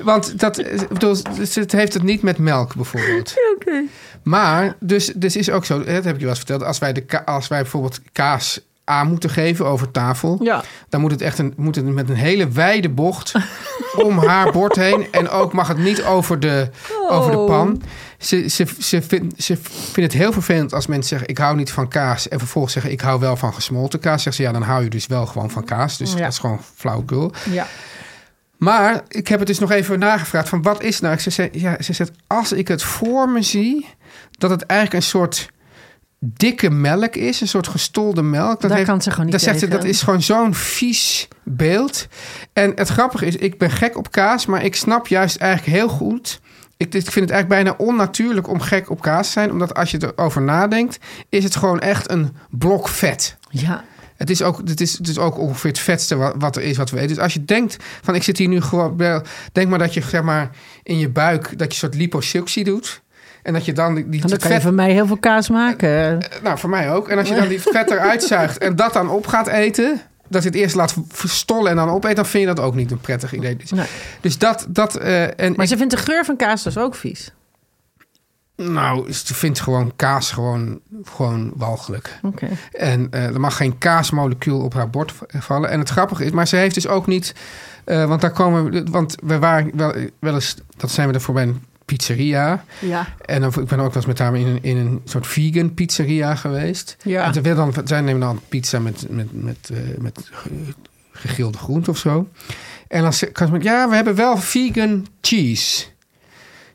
[SPEAKER 2] Want dat, ik bedoel, dus het heeft het niet met melk bijvoorbeeld. Oké. Maar, dus, dus is ook zo, hè, dat heb ik je wel eens verteld. Als wij, de ka- als wij bijvoorbeeld kaas aan moeten geven over tafel...
[SPEAKER 3] Ja.
[SPEAKER 2] dan moet het echt een, moet het met een hele wijde bocht om haar bord heen. En ook mag het niet over de, over de pan. Ze, ze, ze, vindt, ze vindt het heel vervelend als mensen zeggen... ik hou niet van kaas. En vervolgens zeggen ik hou wel van gesmolten kaas. Zegt ze, ja, dan hou je dus wel gewoon van kaas. Dus
[SPEAKER 3] Ja.
[SPEAKER 2] dat is gewoon flauwkul.
[SPEAKER 3] Ja.
[SPEAKER 2] Maar ik heb het dus nog even nagevraagd van wat is nou? Ze zei, ja, ze zegt, als ik het voor me zie, dat het eigenlijk een soort dikke melk is, een soort gestolde melk.
[SPEAKER 3] Daar kan ze gewoon niet
[SPEAKER 2] Dan zegt ze,
[SPEAKER 3] tegen.
[SPEAKER 2] dat is gewoon zo'n vies beeld. En het grappige is, ik ben gek op kaas, maar ik snap juist eigenlijk heel goed... Ik, ik vind het eigenlijk bijna onnatuurlijk om gek op kaas te zijn. Omdat als je erover nadenkt, is het gewoon echt een blok vet.
[SPEAKER 3] Ja.
[SPEAKER 2] Het is, ook, het, is, het is ook ongeveer het vetste wat, wat er is wat we eten. Dus als je denkt van ik zit hier nu gewoon... bij- Denk maar dat je zeg maar in je buik dat je een soort liposuctie doet. En dat je dan die, die
[SPEAKER 3] En dan
[SPEAKER 2] dat
[SPEAKER 3] kan je
[SPEAKER 2] vet...
[SPEAKER 3] van mij heel veel kaas maken.
[SPEAKER 2] Nou, voor mij ook. En als je dan die vet eruit zuigt en dat dan op gaat eten... Dat je het eerst laat verstollen en dan opeet... dan vind je dat ook niet een prettig idee. Dus,
[SPEAKER 3] Nee.
[SPEAKER 2] dus dat... dat eh, en
[SPEAKER 3] Maar ze vindt de geur van kaas dus ook vies.
[SPEAKER 2] ik- nou, ze vindt gewoon kaas gewoon, gewoon walgelijk.
[SPEAKER 3] Oké.
[SPEAKER 2] En eh, er mag geen kaasmolecuul op haar bord v- vallen. En het grappige is, maar ze heeft dus ook niet. eh, want daar komen. we- Want we waren wel, wel eens. Dat zijn we er voor bij een pizzeria.
[SPEAKER 3] Ja.
[SPEAKER 2] En dan, ik ben ook wel eens met haar in een, in een soort vegan pizzeria geweest.
[SPEAKER 3] Ja.
[SPEAKER 2] En ze wil dan, zij nemen dan pizza met, met, met, eh, met ge- gegrilde groente of zo. En dan ze- kan ze met, ja, we hebben wel vegan cheese.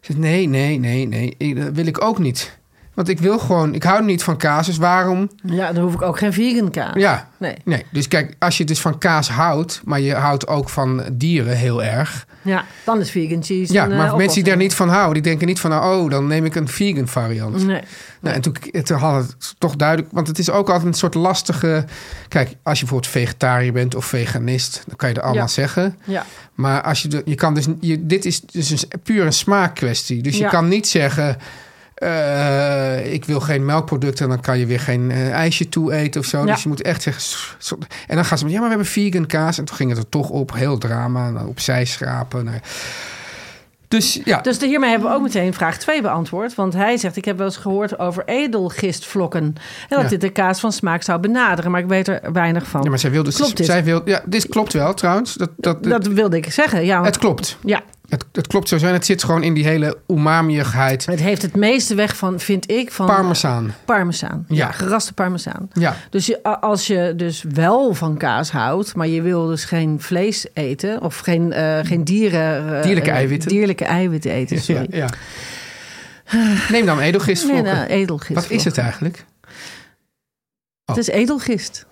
[SPEAKER 2] Ik zeg, nee, nee, nee, nee, ik- dat wil ik ook niet. Want ik wil gewoon, ik hou niet van kaas, dus waarom?
[SPEAKER 3] Ja, dan hoef ik ook geen vegan kaas.
[SPEAKER 2] Ja,
[SPEAKER 3] Nee.
[SPEAKER 2] Nee, dus kijk, als je dus van kaas houdt, maar je houdt ook van dieren heel erg.
[SPEAKER 3] Ja, dan is vegan cheese.
[SPEAKER 2] Ja,
[SPEAKER 3] een,
[SPEAKER 2] maar
[SPEAKER 3] eh,
[SPEAKER 2] mensen die
[SPEAKER 3] oplossing.
[SPEAKER 2] daar niet van houden, die denken niet van, nou, oh, dan neem ik een vegan variant.
[SPEAKER 3] Nee.
[SPEAKER 2] Nou, en toen, toen had het toch duidelijk, want het is ook altijd een soort lastige. Kijk, als je bijvoorbeeld vegetariër bent of veganist, dan kan je er allemaal
[SPEAKER 3] Ja.
[SPEAKER 2] zeggen.
[SPEAKER 3] Ja.
[SPEAKER 2] Maar als je, de- je kan dus, je, dit is dus een, puur een smaakkwestie. Dus je
[SPEAKER 3] Ja.
[SPEAKER 2] kan niet zeggen. eh, ik wil geen melkproducten en dan kan je weer geen eh, ijsje toe eten of zo.
[SPEAKER 3] Ja.
[SPEAKER 2] Dus je moet echt zeggen. s- s- En dan gaan ze met ja, maar we hebben vegan kaas. En toen ging het er toch op, heel drama, en dan opzij schrapen. Nou ja. Dus ja,
[SPEAKER 3] Dus de- hiermee hebben we ook meteen vraag 2 beantwoord. Want hij zegt, ik heb wel eens gehoord over edelgistvlokken. En dat
[SPEAKER 2] Ja.
[SPEAKER 3] dit de kaas van smaak zou benaderen. Maar ik weet er weinig van.
[SPEAKER 2] ja maar zij wilde.
[SPEAKER 3] Klopt dit?
[SPEAKER 2] zij wil, ja, dit klopt wel trouwens. Dat, dat,
[SPEAKER 3] Dat wilde ik zeggen. Ja, want-
[SPEAKER 2] het klopt.
[SPEAKER 3] ja,
[SPEAKER 2] Het, het klopt sowieso. En het zit gewoon in die hele umamiigheid.
[SPEAKER 3] het heeft het meeste weg van, vind ik, van...
[SPEAKER 2] Parmezaan.
[SPEAKER 3] Parmezaan. Ja,
[SPEAKER 2] Ja.
[SPEAKER 3] geraste parmezaan.
[SPEAKER 2] Ja.
[SPEAKER 3] Dus je, a- als je dus wel van kaas houdt, maar je wil dus geen vlees eten of geen, eh, geen dieren... eh,
[SPEAKER 2] Dierlijke
[SPEAKER 3] eh,
[SPEAKER 2] eiwitten.
[SPEAKER 3] Dierlijke eiwitten eten, sorry. Ah.
[SPEAKER 2] Ja, ja. Neem dan edelgistvlokken.
[SPEAKER 3] Nee, nou, edelgist.
[SPEAKER 2] Wat is het eigenlijk?
[SPEAKER 3] Het is edelgist.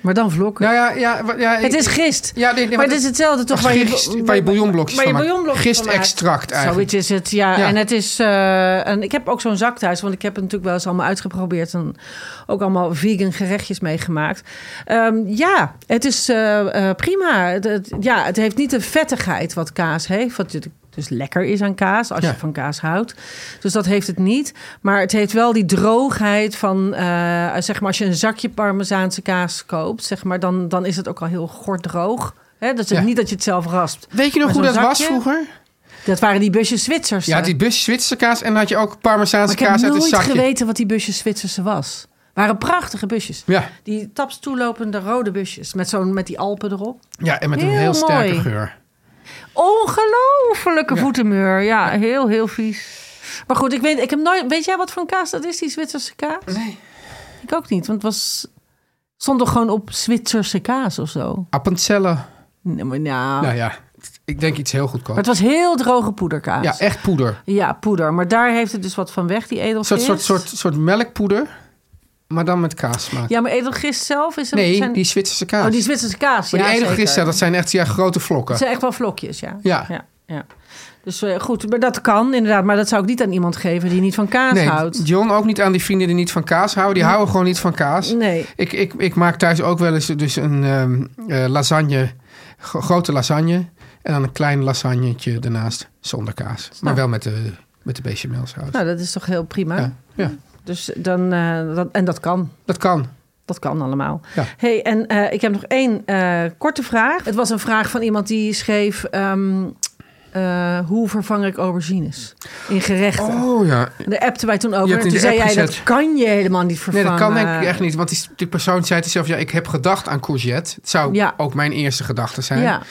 [SPEAKER 3] Maar dan vlokken.
[SPEAKER 2] Nou ja, ja, wa- ja
[SPEAKER 3] het
[SPEAKER 2] ik-
[SPEAKER 3] is gist.
[SPEAKER 2] Ja, nee, nee,
[SPEAKER 3] maar
[SPEAKER 2] maar
[SPEAKER 3] het is
[SPEAKER 2] dat-
[SPEAKER 3] hetzelfde toch
[SPEAKER 2] als gist- waar je bouillonblokjes
[SPEAKER 3] waar
[SPEAKER 2] van
[SPEAKER 3] je
[SPEAKER 2] maakt.
[SPEAKER 3] bouillonblokjes van maakt.
[SPEAKER 2] Gistextract eigenlijk.
[SPEAKER 3] Zoiets is het, ja.
[SPEAKER 2] Ja.
[SPEAKER 3] En het is... eh, en ik heb ook zo'n zak thuis, want ik heb het natuurlijk wel eens allemaal uitgeprobeerd. En ook allemaal vegan gerechtjes meegemaakt. Ehm, ja, het is eh, eh, prima. Het, het- ja, het heeft niet de vettigheid wat kaas heeft. Wat natuurlijk dus lekker is aan kaas, als
[SPEAKER 2] Ja.
[SPEAKER 3] je van kaas houdt. Dus dat heeft het niet. Maar het heeft wel die droogheid van... eh, zeg maar, als je een zakje parmezaanse kaas koopt... Zeg maar, dan, dan is het ook al heel gort droog. Hè? Dus het
[SPEAKER 2] Ja.
[SPEAKER 3] niet dat je het zelf raspt.
[SPEAKER 2] Weet je nog
[SPEAKER 3] Maar
[SPEAKER 2] hoe dat
[SPEAKER 3] zo'n
[SPEAKER 2] was
[SPEAKER 3] zakje?
[SPEAKER 2] vroeger?
[SPEAKER 3] Dat waren die busjes Zwitsers.
[SPEAKER 2] Ja,
[SPEAKER 3] hè?
[SPEAKER 2] die busjes Zwitserse kaas en dan had je ook Parmezaanse
[SPEAKER 3] maar ik heb
[SPEAKER 2] kaas uit een
[SPEAKER 3] nooit
[SPEAKER 2] zakje.
[SPEAKER 3] geweten wat die busjes Zwitserse was. waren prachtige busjes.
[SPEAKER 2] Ja.
[SPEAKER 3] Die taps toelopende rode busjes met, zo'n met die Alpen erop.
[SPEAKER 2] Ja, en met een
[SPEAKER 3] Heel
[SPEAKER 2] heel sterke
[SPEAKER 3] mooi.
[SPEAKER 2] geur.
[SPEAKER 3] Ongelofelijke voetenmuur. Ja, heel, heel vies. Maar goed, ik weet, ik heb nooit, weet jij wat voor een kaas dat is, die Zwitserse kaas?
[SPEAKER 2] Nee.
[SPEAKER 3] Ik ook niet, want het was, stond er gewoon op Zwitserse kaas of zo.
[SPEAKER 2] Appenzellen.
[SPEAKER 3] Nee, maar nou.
[SPEAKER 2] Nou ja, ik denk iets heel
[SPEAKER 3] Oh. Maar
[SPEAKER 2] goedkoop.
[SPEAKER 3] het was heel droge poederkaas.
[SPEAKER 2] Ja, echt poeder.
[SPEAKER 3] Ja, poeder. Maar daar heeft het dus wat van weg, die
[SPEAKER 2] Een soort,
[SPEAKER 3] edelgist.
[SPEAKER 2] soort, soort, soort melkpoeder, maar dan met kaas
[SPEAKER 3] Ja, maar edelgist zelf is... een-
[SPEAKER 2] nee,
[SPEAKER 3] zijn-
[SPEAKER 2] die Zwitserse kaas.
[SPEAKER 3] Oh, die Zwitserse kaas.
[SPEAKER 2] maar
[SPEAKER 3] ja,
[SPEAKER 2] die enige
[SPEAKER 3] zeker.
[SPEAKER 2] gisteren, dat zijn echt ja, grote vlokken.
[SPEAKER 3] Het zijn echt wel vlokjes, ja.
[SPEAKER 2] Ja.
[SPEAKER 3] ja, ja. Dus eh, goed, maar dat kan inderdaad. Maar dat zou ik niet aan iemand geven die niet van kaas
[SPEAKER 2] nee,
[SPEAKER 3] houdt.
[SPEAKER 2] John ook niet aan die vrienden die niet van kaas houden. Die houden gewoon niet van kaas.
[SPEAKER 3] Nee.
[SPEAKER 2] Ik, ik, ik maak thuis ook wel eens dus een ehm, eh, lasagne, gro- grote lasagne. En dan een klein lasagnetje ernaast, zonder kaas. Maar wel met de, met de bechamelsaus.
[SPEAKER 3] Nou, dat is toch heel prima.
[SPEAKER 2] ja, ja,
[SPEAKER 3] Dus dan, eh, dat, en dat kan.
[SPEAKER 2] dat kan.
[SPEAKER 3] Dat kan allemaal.
[SPEAKER 2] Ja.
[SPEAKER 3] Hey, en eh, ik heb nog één eh, korte vraag. Het was een vraag van iemand die schreef... ehm, eh, hoe vervang ik aubergines in gerechten?
[SPEAKER 2] Oh ja,
[SPEAKER 3] En Daar appten wij toen
[SPEAKER 2] Je
[SPEAKER 3] over.
[SPEAKER 2] hebt
[SPEAKER 3] En
[SPEAKER 2] in
[SPEAKER 3] Toen
[SPEAKER 2] de
[SPEAKER 3] zei
[SPEAKER 2] app
[SPEAKER 3] jij, dat
[SPEAKER 2] gezet.
[SPEAKER 3] kan je helemaal niet vervangen.
[SPEAKER 2] Nee, dat kan
[SPEAKER 3] eh,
[SPEAKER 2] denk ik echt niet. Want die, die persoon zei het zelf, ja, ik heb gedacht aan courgette. Het zou
[SPEAKER 3] Ja.
[SPEAKER 2] ook mijn eerste gedachte zijn.
[SPEAKER 3] Ja,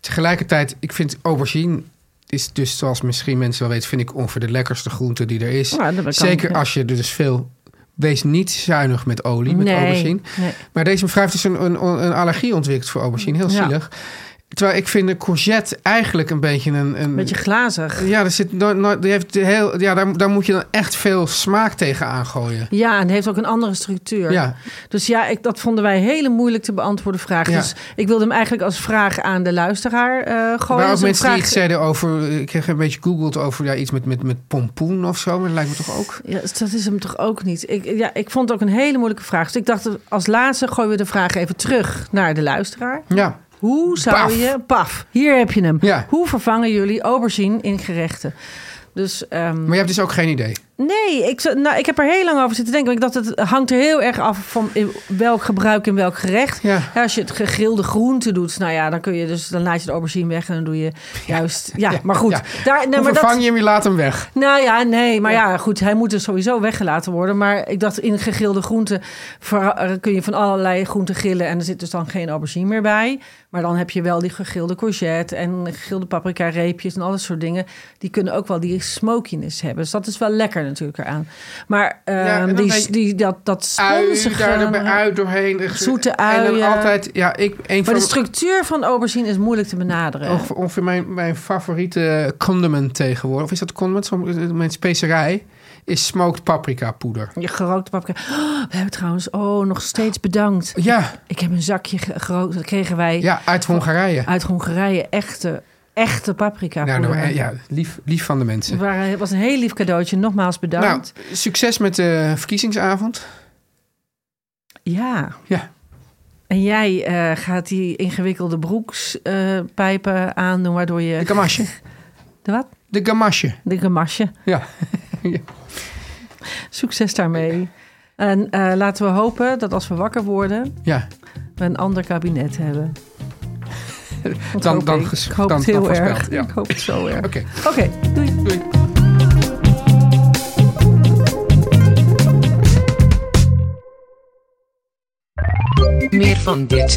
[SPEAKER 2] Tegelijkertijd, ik vind aubergine is dus, zoals misschien mensen wel weten, vind ik ongeveer de lekkerste groente die er is.
[SPEAKER 3] Ja, dat kan ik,
[SPEAKER 2] Zeker
[SPEAKER 3] ja.
[SPEAKER 2] als je er dus veel... Wees niet zuinig met olie, met
[SPEAKER 3] Nee,
[SPEAKER 2] aubergine.
[SPEAKER 3] nee.
[SPEAKER 2] Maar deze mevrouw heeft dus een, een, een allergie ontwikkeld voor aubergine. Heel
[SPEAKER 3] Ja.
[SPEAKER 2] zielig. Terwijl ik vind de courgette eigenlijk een beetje een... een
[SPEAKER 3] beetje glazig.
[SPEAKER 2] Mm. ja, er zit nooit, nooit- die heeft heel, ja daar, daar moet je dan echt veel smaak tegen aangooien.
[SPEAKER 3] Ja, en het heeft ook een andere structuur.
[SPEAKER 2] Ja.
[SPEAKER 3] Dus ja, ik, dat vonden wij hele moeilijk te beantwoorden vraag.
[SPEAKER 2] Ja.
[SPEAKER 3] Dus ik wilde hem eigenlijk als vraag aan de luisteraar eh gooien.
[SPEAKER 2] Maar
[SPEAKER 3] Dat
[SPEAKER 2] ook
[SPEAKER 3] is een
[SPEAKER 2] mensen die
[SPEAKER 3] vraag...
[SPEAKER 2] iets zeiden over... Ik heb een beetje googeld over ja, iets met, met, met pompoen of zo. Maar dat lijkt me toch ook...
[SPEAKER 3] Ja, dat is hem toch ook niet. Ik, ja, ik vond het ook een hele moeilijke vraag. Dus ik dacht, als laatste gooien we de vraag even terug naar de luisteraar.
[SPEAKER 2] Ja,
[SPEAKER 3] Hoe zou
[SPEAKER 2] Paf.
[SPEAKER 3] je... Paf, hier heb je hem.
[SPEAKER 2] Ja.
[SPEAKER 3] Hoe vervangen jullie aubergine in gerechten? Dus ehm,
[SPEAKER 2] maar je hebt dus ook geen idee.
[SPEAKER 3] nee, ik, zou- nou, ik heb er heel lang over zitten denken. want Ik dacht, het hangt er heel erg af van in welk gebruik in welk gerecht.
[SPEAKER 2] Ja.
[SPEAKER 3] Ja, als je het gegrilde groente doet, nou ja, dan kun je dus dan laat je de aubergine weg en dan doe je juist. Ja, maar goed.
[SPEAKER 2] Ja.
[SPEAKER 3] Daar, nee,
[SPEAKER 2] Hoe
[SPEAKER 3] maar
[SPEAKER 2] vervang
[SPEAKER 3] dat,
[SPEAKER 2] je hem? Je laat hem weg.
[SPEAKER 3] nou ja, nee, maar ja. goed, hij moet dus sowieso weggelaten worden. Maar ik dacht, in gegrilde groenten ver- er kun je van allerlei groenten grillen... en er zit dus dan geen aubergine meer bij. Maar dan heb je wel die gegrilde courgette en gegrilde paprika reepjes... en al dat soort dingen, die kunnen ook wel die smokiness hebben. Dus dat is wel lekker natuurlijk eraan. Maar ehm,
[SPEAKER 2] Ja, en dan
[SPEAKER 3] die,
[SPEAKER 2] weet je-
[SPEAKER 3] die, dat, dat
[SPEAKER 2] Ui, daar erbij
[SPEAKER 3] sponsige...
[SPEAKER 2] uit doorheen. Ge-
[SPEAKER 3] Zoete
[SPEAKER 2] En
[SPEAKER 3] uien.
[SPEAKER 2] dan altijd... Ja, ik... Een
[SPEAKER 3] Maar
[SPEAKER 2] van,
[SPEAKER 3] de structuur van aubergine is moeilijk te benaderen.
[SPEAKER 2] ongeveer, ongeveer mijn, mijn favoriete condiment tegenwoordig. Of is dat condiment? Zo'n- Mijn specerij is smoked paprika poeder.
[SPEAKER 3] Je gerookte paprika. Oh, we hebben trouwens, oh, nog steeds bedankt.
[SPEAKER 2] Ja,
[SPEAKER 3] Ik heb een zakje ge- gerookt. Dat kregen wij
[SPEAKER 2] ja uit Hongarije.
[SPEAKER 3] uit Hongarije. Echte, echte paprika.
[SPEAKER 2] Nou,
[SPEAKER 3] poeder.
[SPEAKER 2] nou, ja, lief, lief van de mensen.
[SPEAKER 3] Het waren- het was een heel lief cadeautje. Nogmaals
[SPEAKER 2] Nou,
[SPEAKER 3] bedankt.
[SPEAKER 2] succes met de verkiezingsavond. Nou.
[SPEAKER 3] ja.
[SPEAKER 2] Ja.
[SPEAKER 3] En jij eh, gaat die ingewikkelde broekspijpen aandoen, waardoor je...
[SPEAKER 2] De gamasje.
[SPEAKER 3] De wat?
[SPEAKER 2] De gamasje.
[SPEAKER 3] De gamasje.
[SPEAKER 2] Ja.
[SPEAKER 3] Succes daarmee. En eh, laten we hopen dat als we wakker worden,
[SPEAKER 2] Ja.
[SPEAKER 3] we een ander kabinet hebben. Dat
[SPEAKER 2] Dan-
[SPEAKER 3] hoop
[SPEAKER 2] dan
[SPEAKER 3] ik.
[SPEAKER 2] ges-
[SPEAKER 3] Ik hoop
[SPEAKER 2] dan-
[SPEAKER 3] het
[SPEAKER 2] dan
[SPEAKER 3] heel
[SPEAKER 2] voorspeld,
[SPEAKER 3] erg.
[SPEAKER 2] ja.
[SPEAKER 3] Ik hoop het zo erg.
[SPEAKER 2] Oké.
[SPEAKER 3] Oké, doei.
[SPEAKER 2] Doei.
[SPEAKER 4] Meer van dit.